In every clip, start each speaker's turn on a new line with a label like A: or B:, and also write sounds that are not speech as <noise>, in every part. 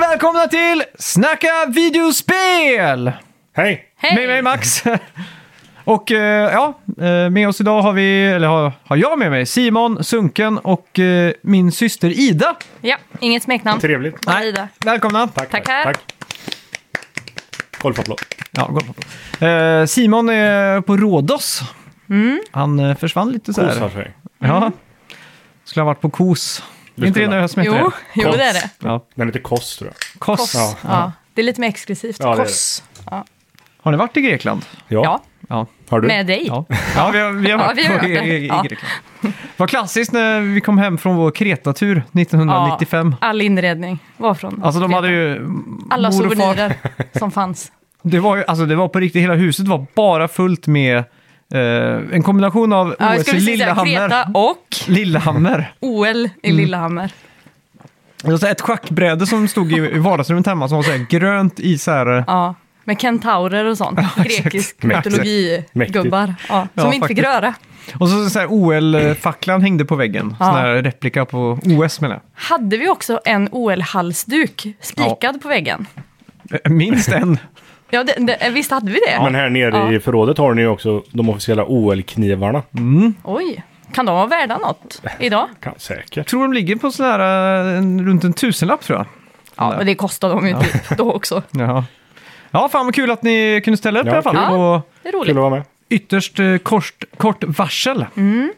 A: välkomna till Snacka videospel!
B: Hej!
C: Hej!
A: Med mig Max. <laughs> Och eh, ja, eh, med oss idag har vi, eller har, har jag med mig, Simon, Sunken och eh, min syster Ida.
C: Ja, inget smeknamn.
B: Trevligt.
C: Bara Ida.
A: Välkomna!
B: Tack.
C: Tackar.
B: Tack. Golfapplåd.
A: Ja, gå på. Eh, Simon är på Rhodos. Han eh, försvann lite så här.
B: Kosar sig.
A: Ja. Skulle ha varit på Kos.
B: Du
A: Är inte det
B: skulle-
A: något som heter
C: Jo,
A: det?
C: jo, det är det.
A: Ja.
B: Den heter Koss tror jag.
A: Kos.
C: Koss.
B: Ja.
C: Ja. Det är lite mer exklusivt.
B: Ja, det är det.
C: Koss. Ja.
A: Har ni varit i Grekland?
C: ja,
A: Ja.
B: Har du?
C: med dig.
A: Ja, ja vi har, vi har
C: Ja,
A: varit
C: vi har
A: på- E-
C: gjort det.
A: i, i, i
C: Ja.
A: Grekland. Vad klassiskt när vi kom hem från vår Kreta-tur 1995.
C: Ja, all inredning var från
A: Alltså de
C: Kreta.
A: hade ju...
C: Alla
A: mor och far-
C: souvenirer
A: <laughs>
C: som fanns.
A: Det var ju, alltså det var på riktigt, hela huset var bara fullt med eh, en kombination av
C: Ja, jag
A: OS i
C: skulle säga
A: Lillehammer. Mm.
C: Kreta och
A: Lillehammer.
C: OL i Lillehammer.
A: Det var så här ett schackbräde som stod i
C: <laughs>
A: i vardagsrummet hemma som var så här grönt i så här...
C: Ja. Med kentaurer och sånt. <laughs> Grekisk
B: Mäktigt.
C: mytologigubbar. Ja, som
A: Ja,
C: vi inte fick
A: faktiskt.
C: röra.
A: Och så, så här OL-facklan hängde på väggen.
C: Ja.
A: Sån här replika på OS menar
C: Hade vi också en OL-halsduk spikad på väggen?
A: jag. Eh, Minst
C: <laughs>
A: en.
C: Ja, det, det, visst hade vi det?
B: Men här nere
C: Ja. Mm.
B: i förrådet har ni ju också de officiella OL-knivarna.
C: Oj, kan de vara värda något idag?
B: Kan,
A: Jag
B: säkert.
A: tror de ligger på sån här eh, en- runt en tusenlapp tror jag.
C: Ja, men det kostade de ju typ då också.
A: Jaha. Ja, fan vad kul att ni kunde ställa upp
B: Ja,
A: i alla fall.
C: kul.
A: På
C: Det är roligt.
B: Kul att vara med.
A: ytterst eh, kort, kort varsel.
C: Mm.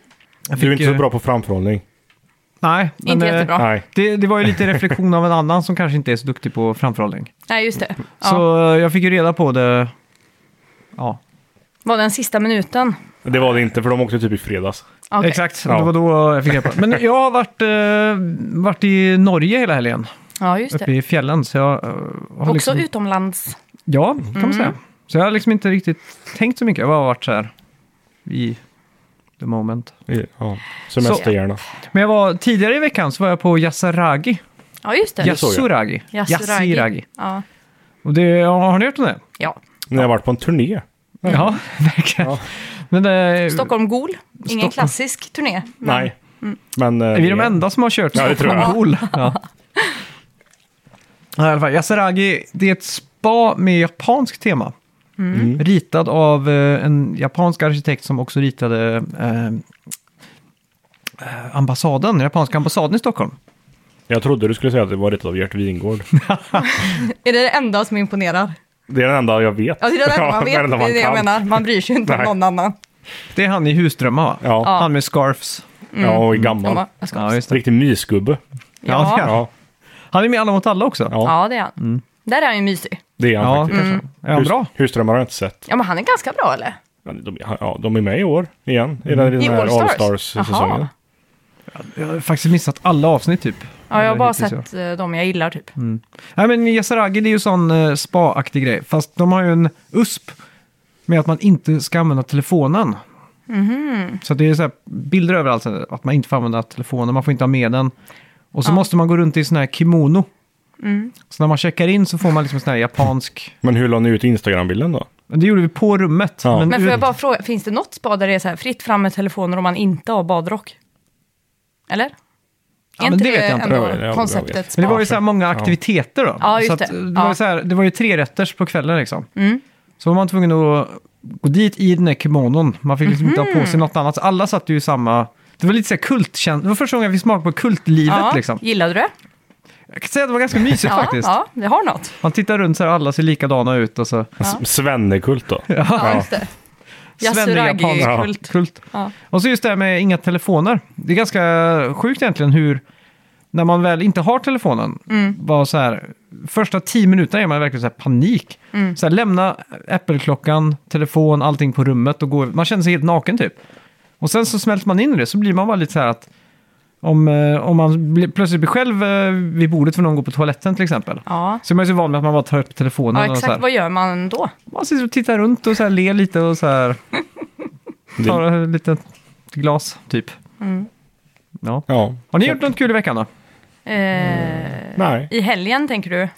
A: Jag
B: Du är
A: fick,
B: inte så
A: eh,
B: bra på framförhållning.
A: Nej,
C: inte
A: eh,
C: jättebra.
B: Nej.
A: Det, det var ju lite reflektion av en annan som kanske inte är så duktig på
C: <laughs>
A: framförhållning.
C: Nej, just det. Ja.
A: Så eh, jag fick ju reda på det. Ja,
C: Var den sista minuten?
B: Det var det inte för de åkte typ i fredags.
C: Okej.
A: exakt.
B: Ja.
A: Det var då jag fick reda på det. Men jag har varit, eh, varit i Norge hela helgen,
C: Ja, just
A: uppe
C: det.
A: i fjällen. Så jag eh, har
C: Också Mm.
A: liksom,
C: utomlands.
A: Ja, kan man säga. Så jag har liksom inte riktigt tänkt så mycket. Jag har bara varit så här i the moment.
B: Ja. Semesterhjärna.
A: Men jag var, tidigare i veckan så var jag på Yasaragi.
C: Ja, just det.
B: såg jag.
A: Yasuragi.
C: Yasuragi.
A: Yasiragi.
C: Ja.
A: Och det, ja, har ni hört om det?
C: ja.
B: När jag varit på en
C: Mm.
B: turné.
A: Ja, <laughs> verkligen.
B: Ja.
A: Men, eh,
C: Stockholm Gol. Ingen
A: Stockholm.
C: klassisk turné. men-
B: Nej.
C: Mm.
B: Men... eh,
A: är vi de
B: det-
A: enda som har kört
B: Ja, det tror jag.
A: Stockholm Pool? Ja. Ja, I alla fall, Yasaragi, det är ett spa med japanskt tema.
B: Mm.
A: Ritad av eh, en japansk arkitekt som också ritade eh, eh, ambassaden, den japanska ambassaden i Stockholm.
B: Jag trodde du skulle säga att det var rätt av Gert
C: <laughs>
B: Wingård.
C: Är det det enda som imponerar?
B: Det är den enda jag vet.
C: Ja, det är
B: <laughs>
C: det enda man
B: den
C: vet. Det
B: enda
C: är det jag
B: kan.
C: menar. Man bryr sig inte om
B: Nej.
C: någon annan.
A: Det är han i Husdrömmar va?
B: Ja. Ja.
A: Han med scarfs.
C: Mm.
B: och är gammal.
C: Ja, jag ska-
A: Ja, just det.
B: Riktig mysgubbe.
A: Ja,
C: Ja.
A: det är han.
B: Ja,
A: Han är med i Alla mot alla också.
B: Ja.
C: Ja, det är han. Där är han ju mysig.
B: det är han
A: Ja,
B: faktiskt.
A: kanske.
C: Mm.
A: Är han
B: Hus-
A: bra?
B: Husdrömmar har jag inte sett.
C: Ja, men han är ganska bra, eller?
B: Ja, De, ja, de är med i år igen. I
A: Mm.
B: den, i
C: I
B: den här
C: All-Stars?
B: Allstars-säsongen.
C: Jaha.
A: Jag har faktiskt missat alla avsnitt typ.
C: Ja, jag har
A: Eller
C: bara
A: hittills i år.
C: sett eh, de jag gillar, typ.
A: Nej men Yasaragi det är ju sån eh, spa-aktig grej. Fast de har ju en USP med att man inte ska använda telefonen.
C: Mhm.
A: Så att det är så här bilder överallt, så att man inte får använda telefonen, man får inte ha med den. Och så måste man gå runt i sån här kimono.
C: Mm.
A: Så när man checkar in så får man liksom sån här japansk...
B: Men hur la ni ut Instagram-bilden då?
A: Det gjorde vi på rummet.
B: Ja.
C: Men får
A: ur-
C: jag bara fråga, finns det något spa där det är så här fritt fram med telefoner om man inte har badrock? Eller?
A: Ja, men det vet jag inte.
C: ändå
B: Jag vet- jag vet.
C: konceptet spa?
A: Men det var ju så här många aktiviteter då.
C: Ja, just
A: så att,
C: det.
A: eh, det, var
C: Ja. Mm.
A: ju så här, det var ju tre rätters på kvällen liksom. Så var man tvungen att gå dit i den där kimonon. Man fick liksom inte ha på
C: Mhm.
A: sig något annat. Så alla satt ju i samma... Det var lite så här kultkänsla. Det var första gången jag fick smaka på kultlivet
C: ja,
A: liksom.
C: Gillade du det?
A: Jag kan säga att det var ganska mysigt
C: Ja,
A: faktiskt.
C: ja, det har
A: <laughs>
C: något.
A: Man tittar runt så här, alla ser likadana ut och så...
B: S- Alltså,
A: <laughs>
B: Svennekult då? Ja.
C: Ja, just det.
A: Svenne-japansk
C: Yasuragi-kult.
A: kult.
C: Ja.
A: Och så just det här med inga telefoner. Det är ganska sjukt egentligen hur, när man väl inte har telefonen,
C: Mm.
A: var så här, första tio minuterna är man verkligen så här panik.
C: Mm.
A: Så här, lämna Apple-klockan, telefon, allting på rummet och gå. Man känner sig helt naken typ. Och sen så smälter man in i det, så blir man bara lite så här att om, eh, om man blir, plötsligt blir själv eh, vid bordet för någon går på toaletten till exempel.
C: Ja.
A: Så är man ju så van med att man bara tar upp telefonen
C: ja,
A: och så
C: exakt.
A: här.
C: Vad gör man då?
A: Man sitter och tittar runt och så här ler lite och så här tar
B: Det,
A: ett litet glas, typ.
B: Mm.
A: Ja.
B: ja.
A: Har ni gjort något kul i veckan då?
C: Eh,
B: Nej.
C: I helgen, tänker du?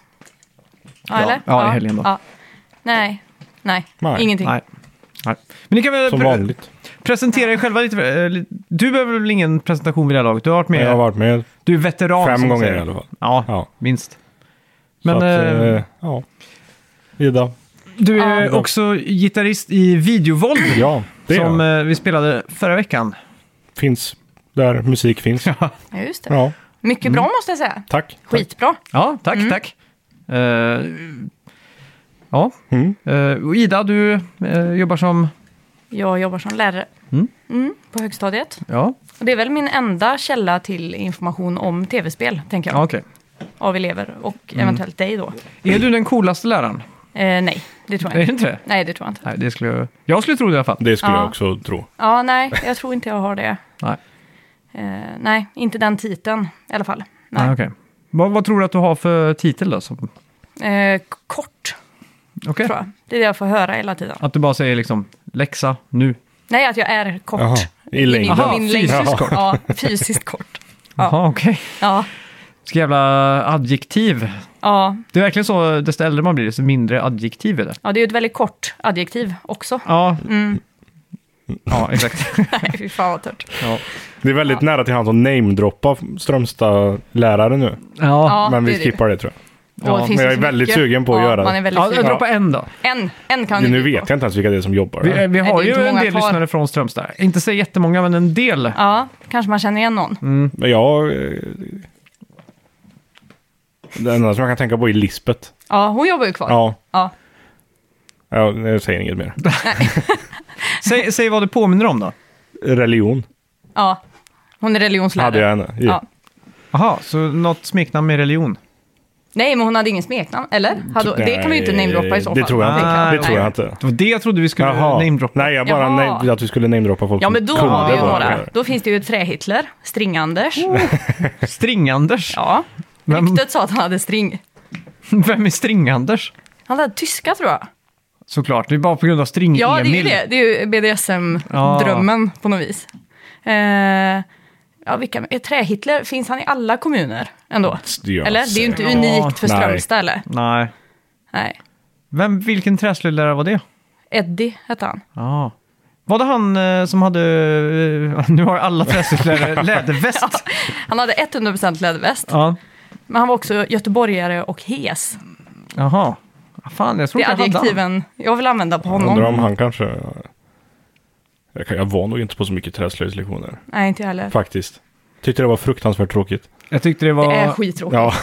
C: Ja, eller?
A: Mm. ja, i helgen då.
C: Ja. Nej. Nej,
B: Nej.
C: ingenting.
A: Nej. Nej. Men ni kan väl
B: Som
A: pre-
B: vanligt.
A: presentera er själva lite. eh, li- Du behöver väl ingen presentation vid det här laget? Du har varit med.
B: Jag har varit med
A: Du är veteran.
B: fem
A: som man
B: gånger
A: säger.
B: i alla fall.
A: Ja,
B: Ja.
A: minst. Men
B: så att,
A: eh,
B: eh, ja. Ida.
A: du är
B: Ja.
A: också gitarrist i Videovåld.
B: Ja, <clears throat> det är
A: Som
B: jag.
A: eh, vi spelade förra veckan.
B: finns där musik finns.
C: Ja, just det.
B: Ja,
C: Mycket bra måste jag säga.
B: tack.
C: Skitbra.
A: Ja, Mm. tack,
B: Mm.
A: tack. Eh, ja,
B: Mm.
A: Eh, och Ida, du eh, jobbar som...
C: Jag jobbar som lärare
A: Mm.
C: Mm, på högstadiet.
A: Ja,
C: Och det är väl min enda källa till information om tv-spel, tänker jag.
A: ja Mm. okej.
C: Av elever och eventuellt dig då.
A: Är du den coolaste läraren?
C: Eh, nej, det tror
A: Är
C: jag
A: det
C: inte.
A: inte det?
C: Nej, det tror jag inte.
A: Nej, det skulle jag... Jag skulle tro det i alla fall.
B: Det skulle
C: Ja.
B: jag också tro.
C: Ja, nej, jag tror inte jag har det.
A: Nej,
C: Eh, nej, inte den titeln i alla fall. Nej.
A: nej Ah, okej. Vad, vad tror du att du har för titel då? Som...
C: Eh, k- kort,
A: Okej.
C: tror jag. Det är det jag får höra hela tiden.
A: Att du bara säger liksom läxa nu.
C: Nej, att jag är kort.
B: Jaha, i längden.
A: Aha,
C: min
A: fysiskt
C: längd.
A: kort.
C: Ja, fysiskt kort. Ja.
A: Jaha, Ah, okej.
C: Ja,
A: Ska jävla adjektiv.
C: ja,
A: Det är verkligen så, desto äldre man blir, desto mindre adjektiv är det.
C: ja, det är ju ett väldigt kort adjektiv också. <laughs>
A: Ja, ja exakt.
C: Nej, fy fan vad tört.
A: Ja.
B: Det är väldigt nära till han som namedroppar Strömstad-lärare nu.
A: Ja.
C: Ja,
B: men
C: det
B: vi
C: är det.
B: skippar det tror jag.
A: Ja,
C: det
A: men
C: finns
B: jag
C: ju
B: är
C: så
B: väldigt
C: mycket.
B: sugen på att
C: ja,
B: göra det.
C: Man är väldigt
A: Ja,
C: sugen.
A: droppa en då.
C: En, en kan vi
B: nu
C: bli på.
B: vet jag inte ens vilka det är som jobbar
A: Vi,
B: här.
A: vi har
C: det är
A: ju
C: inte
A: en
C: många
A: del
C: kvar.
A: lyssnare från Strömstad. Inte så jättemånga, men en del.
C: Ja, kanske man känner igen någon.
B: Men jag... eh, Det enda som jag kan tänka på är Lisbet.
C: Ja, hon jobbar ju kvar.
B: Ja,
C: Ja.
B: ja, jag säger inget mer.
A: Säg, säg vad du påminner om då.
B: Religion
C: ja. Hon är religionslärare.
B: hade jag henne i.
C: Ja.
A: Aha, så något smeknamn med religion?
C: Nej, men hon hade ingen smeknamn, eller? Hade, hon- det kan vi ju inte
B: Nej,
C: namedroppa i så fall.
B: det tror jag inte.
C: tänker
A: Ah,
B: det tror jag inte.
A: Det var det jag trodde vi skulle namedroppa.
B: Nej, jag bara
C: Jaha.
B: nej, att vi skulle namedroppa folk
C: Ja,
B: som
C: men då
B: kunde
C: har vi ju
B: vara Oh.
C: några.
B: lärare.
C: Då finns det ju Trä-Hitler, String-Anders.
A: String-Anders?
C: <laughs> Ja.
A: Vem-
C: Ryktet sa att han hade string.
A: <laughs> Vem är String-Anders?
C: Han hade tyska, tror jag.
A: Såklart, det är bara på grund av String-Emil.
C: Ja, det är ju det. Det är ju BDSM-drömmen på något vis. Eh, ja, vilka, är Trä-Hitler, finns han i alla kommuner ändå?
B: Det gör han
C: Eller? Det är ju inte
B: säkert.
C: unikt för
B: Nej.
C: Strömstad, eller?
A: Nej.
C: Nej.
A: Vem, vilken träslöjdlärare var det?
C: Eddie hette han.
A: Ja. Var det han eh, som hade... eh, <laughs> nu har alla
C: <laughs>
A: träslöjdlärare läderväst.
C: Han hade 100% läderväst,
A: Ja.
C: men han var också göteborgare och hes.
A: Jaha. Ja, Fan, jag tror
C: Det är
A: inte jag hade han.
C: adjektiven jag vill använda på
B: Undrar
C: honom.
B: om han kanske... Jag, kan- jag var nog inte på så mycket träslöjdslektioner.
C: Nej, inte jag heller.
B: Faktiskt. Tyckte det var fruktansvärt tråkigt.
A: Jag tyckte det var...
C: Det är skittråkigt.
B: Ja, <laughs>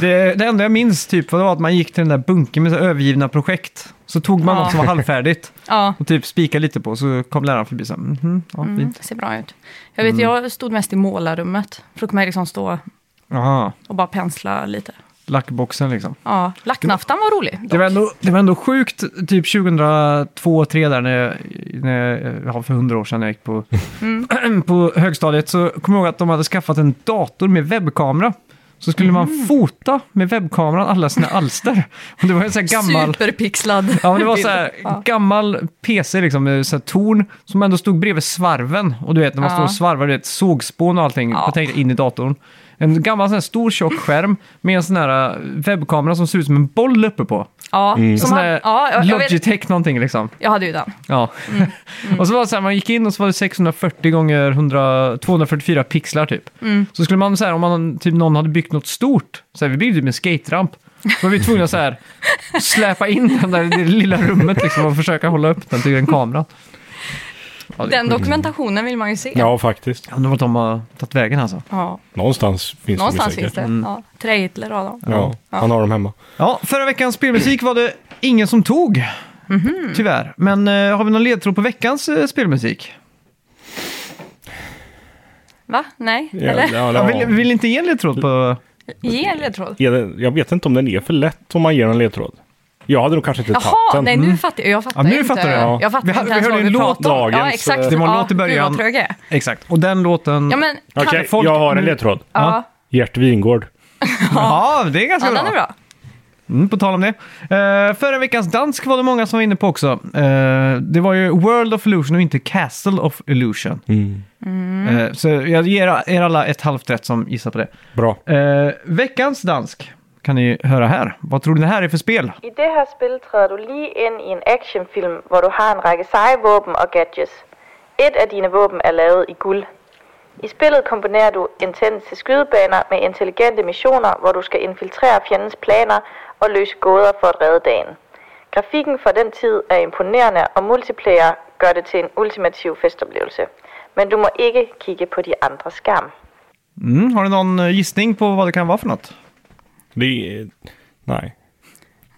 A: Det, det enda jag minns typ var det var att man gick till den där bunkern med så här övergivna projekt. Så tog man
C: Ja. <laughs>
A: något som var halvfärdigt
C: Ja,
A: och typ spikade lite på så kom läraren förbi så här, "Mhm, ja,
C: mm,
A: fint.
C: det ser bra ut. Jag
A: Mm.
C: vet, jag stod mest i målarrummet. Fick man liksom stå
A: Aha,
C: och bara pensla lite.
A: lackboxen liksom.
C: Ja, lacknaftan var rolig.
A: Det var, ändå, det var ändå sjukt, typ 2002 3 där, när jag, när jag, ja, för hundra år sedan när jag gick på,
C: Mm.
A: <clears throat> på högstadiet, så kom jag ihåg att de hade skaffat en dator med webbkamera. Så skulle
C: Mm.
A: man fota med webbkameran alla sina alster. Och det var en sån här gammal...
C: Superpixlad.
A: Ja, men det var
C: bild.
A: så här
C: <laughs> Ja.
A: gammal PC, liksom, med så här torn, som ändå stod bredvid svarven. Och du vet, när man
C: Ja.
A: står och svarvar, du vet, sågspån och allting,
C: Ja.
A: ja. tänk dig in i datorn. En gammal sån här stor tjock skärm med en sån här eh, webbkamera som ser ut som en boll uppe på.
C: Ja, som
A: Mm. Sån
C: han,
A: här
C: ja jag, jag, vet, Mm.
A: Logitech någonting liksom.
C: jag hade ju den.
A: Ja. och så var det så här, man gick in och så var det 640 gånger 100, 244 pixlar typ.
C: Mm.
A: Så skulle man så här, om man, typ någon hade byggt något stort, så här, vi byggde typ en skateramp, så var vi tvungna att så här släpa in den där i det lilla rummet liksom och försöka hålla upp den till en kamera. Ja, det,
C: Den dokumentationen vill man ju se.
B: ja faktiskt.
A: Jag undrar vart de har tagit vägen alltså.
C: Ja,
B: Någonstans finns
C: Någonstans
B: de ju
C: finns
B: säkert.
C: det.
A: Mm.
C: Ja. Trä-Hitler har de.
B: Ja, han har dem hemma.
A: Ja, förra veckans spelmusik var det ingen som tog.
C: Mhm.
A: Tyvärr. Men eh, har vi någon ledtråd på veckans eh, spelmusik?
C: Va? Nej?
B: Ja,
C: Eller?
B: ja,
A: Jag
B: ja.
A: vill, vill inte ge en ledtråd på...
C: Ge en ledtråd.
B: Är det- Jag vet inte om den är för lätt om man ger en ledtråd. Jag hade nog kanske inte tagit
C: Jaha,
B: den. Mm.
C: nej nu fattar jag. Jag fattar
A: Mm. Ja, nu
C: inte.
A: fattar jag.
C: jag fattar
A: Vi hade-
C: inte
A: vi
C: ens
A: hörde
C: vad
A: en
C: vi
A: låt
C: pratar om. Ja,
B: dagens,
C: exakt.
A: eh, Det var en
C: ja,
A: låt i början. Mm.
C: Gud vad trög jag är.
A: Exakt, och den låten...
C: Ja, men kan...
B: Okej,
A: folk-
B: jag har en ledtråd.
C: Ja,
B: Gert Wingård.
A: Ja, det är
C: ja
A: ganska
C: den
A: bra.
C: är bra.
A: Mm, på tal om det. Uh, förra veckans dansk var det många som var inne på också. Eh, det var ju World of Illusion och inte Castle of Illusion.
C: Mm.
A: Eh, så jag ger er alla ett halvt rätt som gissar på det.
B: Bra.
A: Eh, veckans dansk kan ni höra här. Vad tror ni det här är för spel?
D: I det her spil træder du lige ind i en actionfilm, hvor du har en række seje våben og gadgets. Et af dine våben er lavet i guld. I spillet kombinerer du intense skydebaner med intelligente missioner, hvor du skal infiltrere fjendens planer og løse gåder for at redde dagen. Grafikken fra den tid er imponerende, og multiplayer gør det til en ultimativ festoplevelse. Men du må ikke kigge på de andres skærm.
A: Mm, har du någon eh, gissning på vad det kan vara för något?
B: Det är... Nej.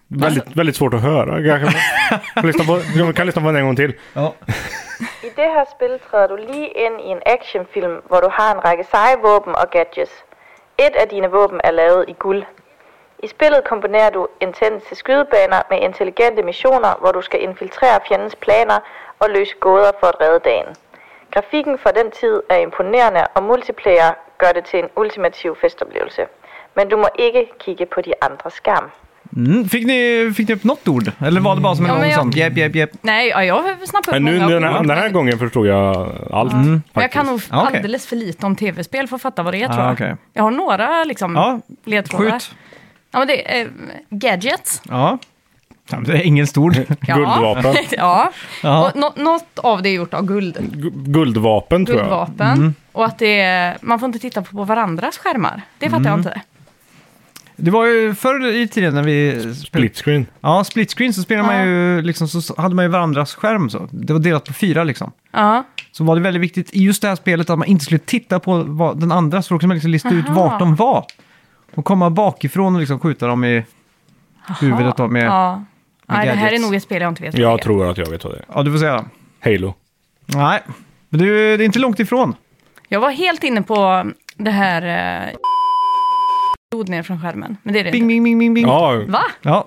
B: Väldigt, väldigt svårt att höra. Jag kan, kan lyssna på, jag kan lyssna på den en gång till.
A: Ja.
D: I det her spil træder du lige ind i en actionfilm, hvor du har en række seje våben og gadgets. Et af dine våben er lavet i guld. I spillet kombinerer du intense skydebaner med intelligente missioner, hvor du skal infiltrere fjendens planer og løse gåder for at redde dagen. Grafikken fra den tid er imponerende, og multiplayer gør det til en ultimativ festoplevelse. Men du må ikke kigge på de andres skærm.
A: Mm, fick, ni, fick ni upp något ord? Eller var det bara som en
C: Ja, men
A: långsam?
C: jag-
A: Jep, jep, jep.
C: Nej, ja, jag snappar upp
B: Men nu
C: många
B: den här,
C: ord.
B: den här gången förstod jag allt.
C: Men jag
B: faktiskt.
C: kan nog
A: Ja, okej.
C: alldeles för lite om tv-spel för att fatta vad det är,
A: Ah,
C: tror jag.
A: okej.
C: Jag har några liksom,
A: Ja,
C: ledtrådar.
A: Skjut.
C: Ja, men det är eh, gadgets.
A: Ja. Ja, men Det är ingen stor.
C: Ja.
B: Guldvapen.
C: <laughs> ja.
A: Ja.
C: Och nå- något av det är gjort av guld.
B: Gu- Guldvapen tror jag.
C: Guldvapen.
A: Mm.
C: Och att det är, man får inte titta på varandras skärmar. Det fattar
A: Mm.
C: jag inte.
A: Det var ju förr i tiden när vi... Spel...
B: Split screen.
A: Ja, split screen så spelade
C: Ja.
A: man ju liksom, så hade man ju varandras skärm så. Det var delat på fyra liksom.
C: Ja.
A: Så var det väldigt viktigt i just det här spelet att man inte skulle titta på vad den andra, så då kunde man liksom lista ut
C: Aha.
A: vart de var. Och komma bakifrån och liksom skjuta dem i huvudet då med... Ja.
C: ja. Nej, det här är
A: gadgets.
C: nog ett spel jag inte vet vad det
B: Jag
C: är.
B: tror att jag vet vad det är.
A: du får säga.
B: Halo.
A: Nej, men det är ju- det är inte långt ifrån.
C: Jag var helt inne på det här... Eh, blod ner från skärmen. Men det är det
A: Bing, bing,
C: inte.
A: bing, bing, bing.
B: Ja,
C: Va?
A: Ja.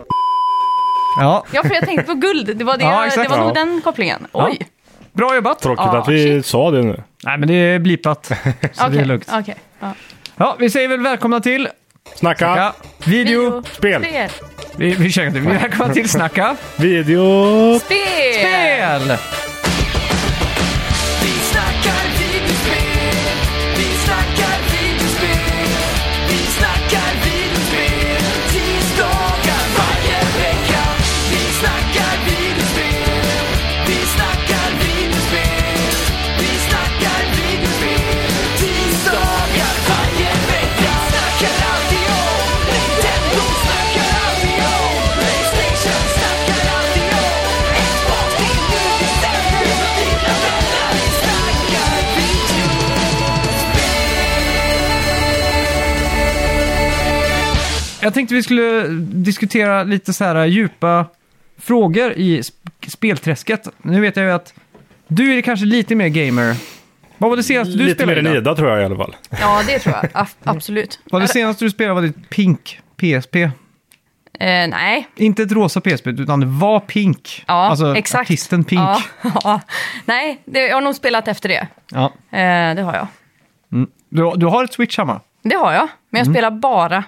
A: Ja,
C: Ja, för jag tänkte på guld. Det var,
A: <laughs>
C: det,
A: Ja,
C: jag-
A: exakt,
C: det var nog
B: ja.
C: den kopplingen.
A: Ja.
C: Oj!
A: bra jobbat!
B: tråkigt
C: Ah,
B: att vi sa det nu.
A: Nej, men det är blipat. Så det är
C: Okej,
A: lugnt.
C: okej. Ja.
A: Ja, vi säger väl välkomna till
B: Snacka,
A: Snacka Video.
B: Spel.
C: Spel!
A: Vi, vi käkar inte. Vi välkomna till
C: <laughs>
A: Snacka
B: video,
C: Spel!
A: Spel!
E: Vi snackar videospel, vi snackar videospel, vi snackar videospel, tisdagar varje vecka. Vi snackar videospel, vi snackar videospel, vi snackar videospel, tisdagar varje vecka. Snackar alltid om Nintendo, snackar alltid om Playstation, snackar alltid om Xbox, det är nu vi sänder, dina vänner. Vi snackar video.
A: Jag tänkte vi skulle diskutera lite så här djupa frågor i sp- spelträsket. Nu vet jag ju att du är kanske lite mer gamer. Vad var det senaste du
B: lite mer
A: spelade?
B: än
A: Ida?
B: Ida tror jag i alla fall.
C: Ja, det tror jag. Af- Absolut.
A: Vad det senaste Mm. du spelade var ditt Pink PSP.
C: Eh, nej,
A: Inte ett rosa PSP, utan det var Pink.
C: ja,
A: alltså
C: exakt.
A: artisten Pink.
C: Ja, <laughs> ja. Nej, det, jag har nog spelat efter det.
A: Ja.
C: Eh, det har jag.
A: Du, du har ett Switch hemma?
C: Det har jag, men jag spelar bara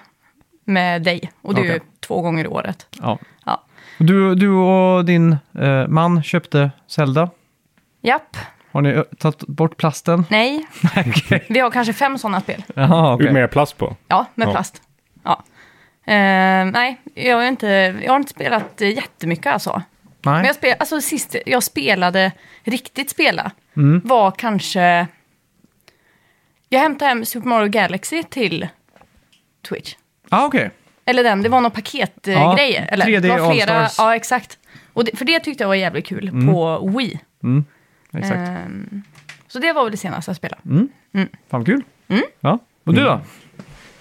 C: med dig. Och det är ju
A: Mm. Okej.
C: två gånger i året.
A: Ja.
C: Ja.
A: Du, du och din eh, man köpte Zelda.
C: Japp,
A: Har ni ö, tagit bort plasten?
C: nej. Vi har kanske fem sådana spel.
A: Jaha, okej.
B: Med plast på.
C: Ja, med
B: Ja.
C: plast. Ja. Eh, nej, jag har, inte, jag har inte spelat eh, jättemycket alltså. Men
A: Nej.
C: jag spel, alltså sist jag spelade, riktigt spela, var kanske... Jag hämtade hem Super Mario Galaxy till Twitch.
A: Ah, okej.
C: Eller den, det var någon paketgrej.
A: Ja,
C: Ja, eller
A: 3D
C: det var
A: All-Stars.
C: Ja, exakt. Och det, för det tyckte jag var jävligt kul på Wii.
A: Exakt.
C: Ehm, så det var väl det senaste jag spelade.
A: Fan vad kul.
C: Mm.
A: Ja. Och du
B: Mm.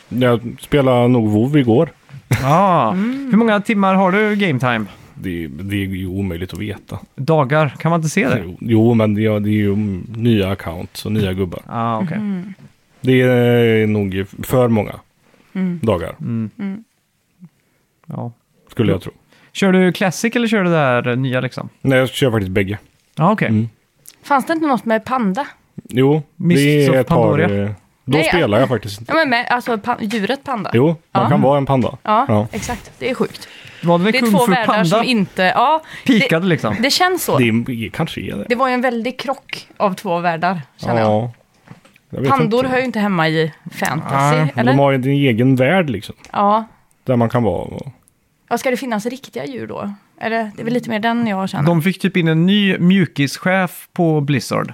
A: då?
B: Jag spelade nog WoW igår.
A: Ja.
C: Mm.
A: Hur många timmar har du game time?
B: Det, det är ju omöjligt att veta.
A: Dagar? Kan man inte se det?
B: Jo- Jo, men ja, det är ju nya accounts och nya gubbar.
A: Ah, okej.
C: Mm.
B: Det är nog för många
C: Mm.
B: dagar,
A: Mm. Ja.
B: skulle jag tro.
A: Kör du classic eller kör du det här eh, nya liksom?
B: Nej, jag kör faktiskt bägge.
A: Ja, ah, okej.
B: Mm.
C: Fanns det inte något med Panda?
B: Jo,
A: Mists
B: det
A: of
B: är ett par...
A: Pandoria.
B: eh, Då
C: Nej,
B: spelar jag faktiskt inte.
C: Ja, men med, alltså pa- djuret Panda.
B: Jo, man
C: Ja.
B: kan vara en panda.
C: Ja,
B: Ja.
C: exakt. Det är sjukt.
A: Var det väl
C: Det är
A: Kung
C: två
A: Fu
C: världar
A: Panda
C: som inte... Ja,
A: pikade liksom?
C: det, det känns så.
B: Det
C: Det,
B: är, kanske är det.
C: var ju en väldig krock av två världar, känner jag.
B: Ja. Jag vet
C: Pandor
B: inte.
C: hör ju inte hemma i fantasy,
A: Nej,
B: De
C: eller?
B: har ju en egen värld liksom.
C: Ja.
B: Där man kan vara. Och...
C: ja. Ska det finnas riktiga djur då? Eller, det är väl lite mer den jag känner.
A: De fick typ in en ny mjukischef på Blizzard.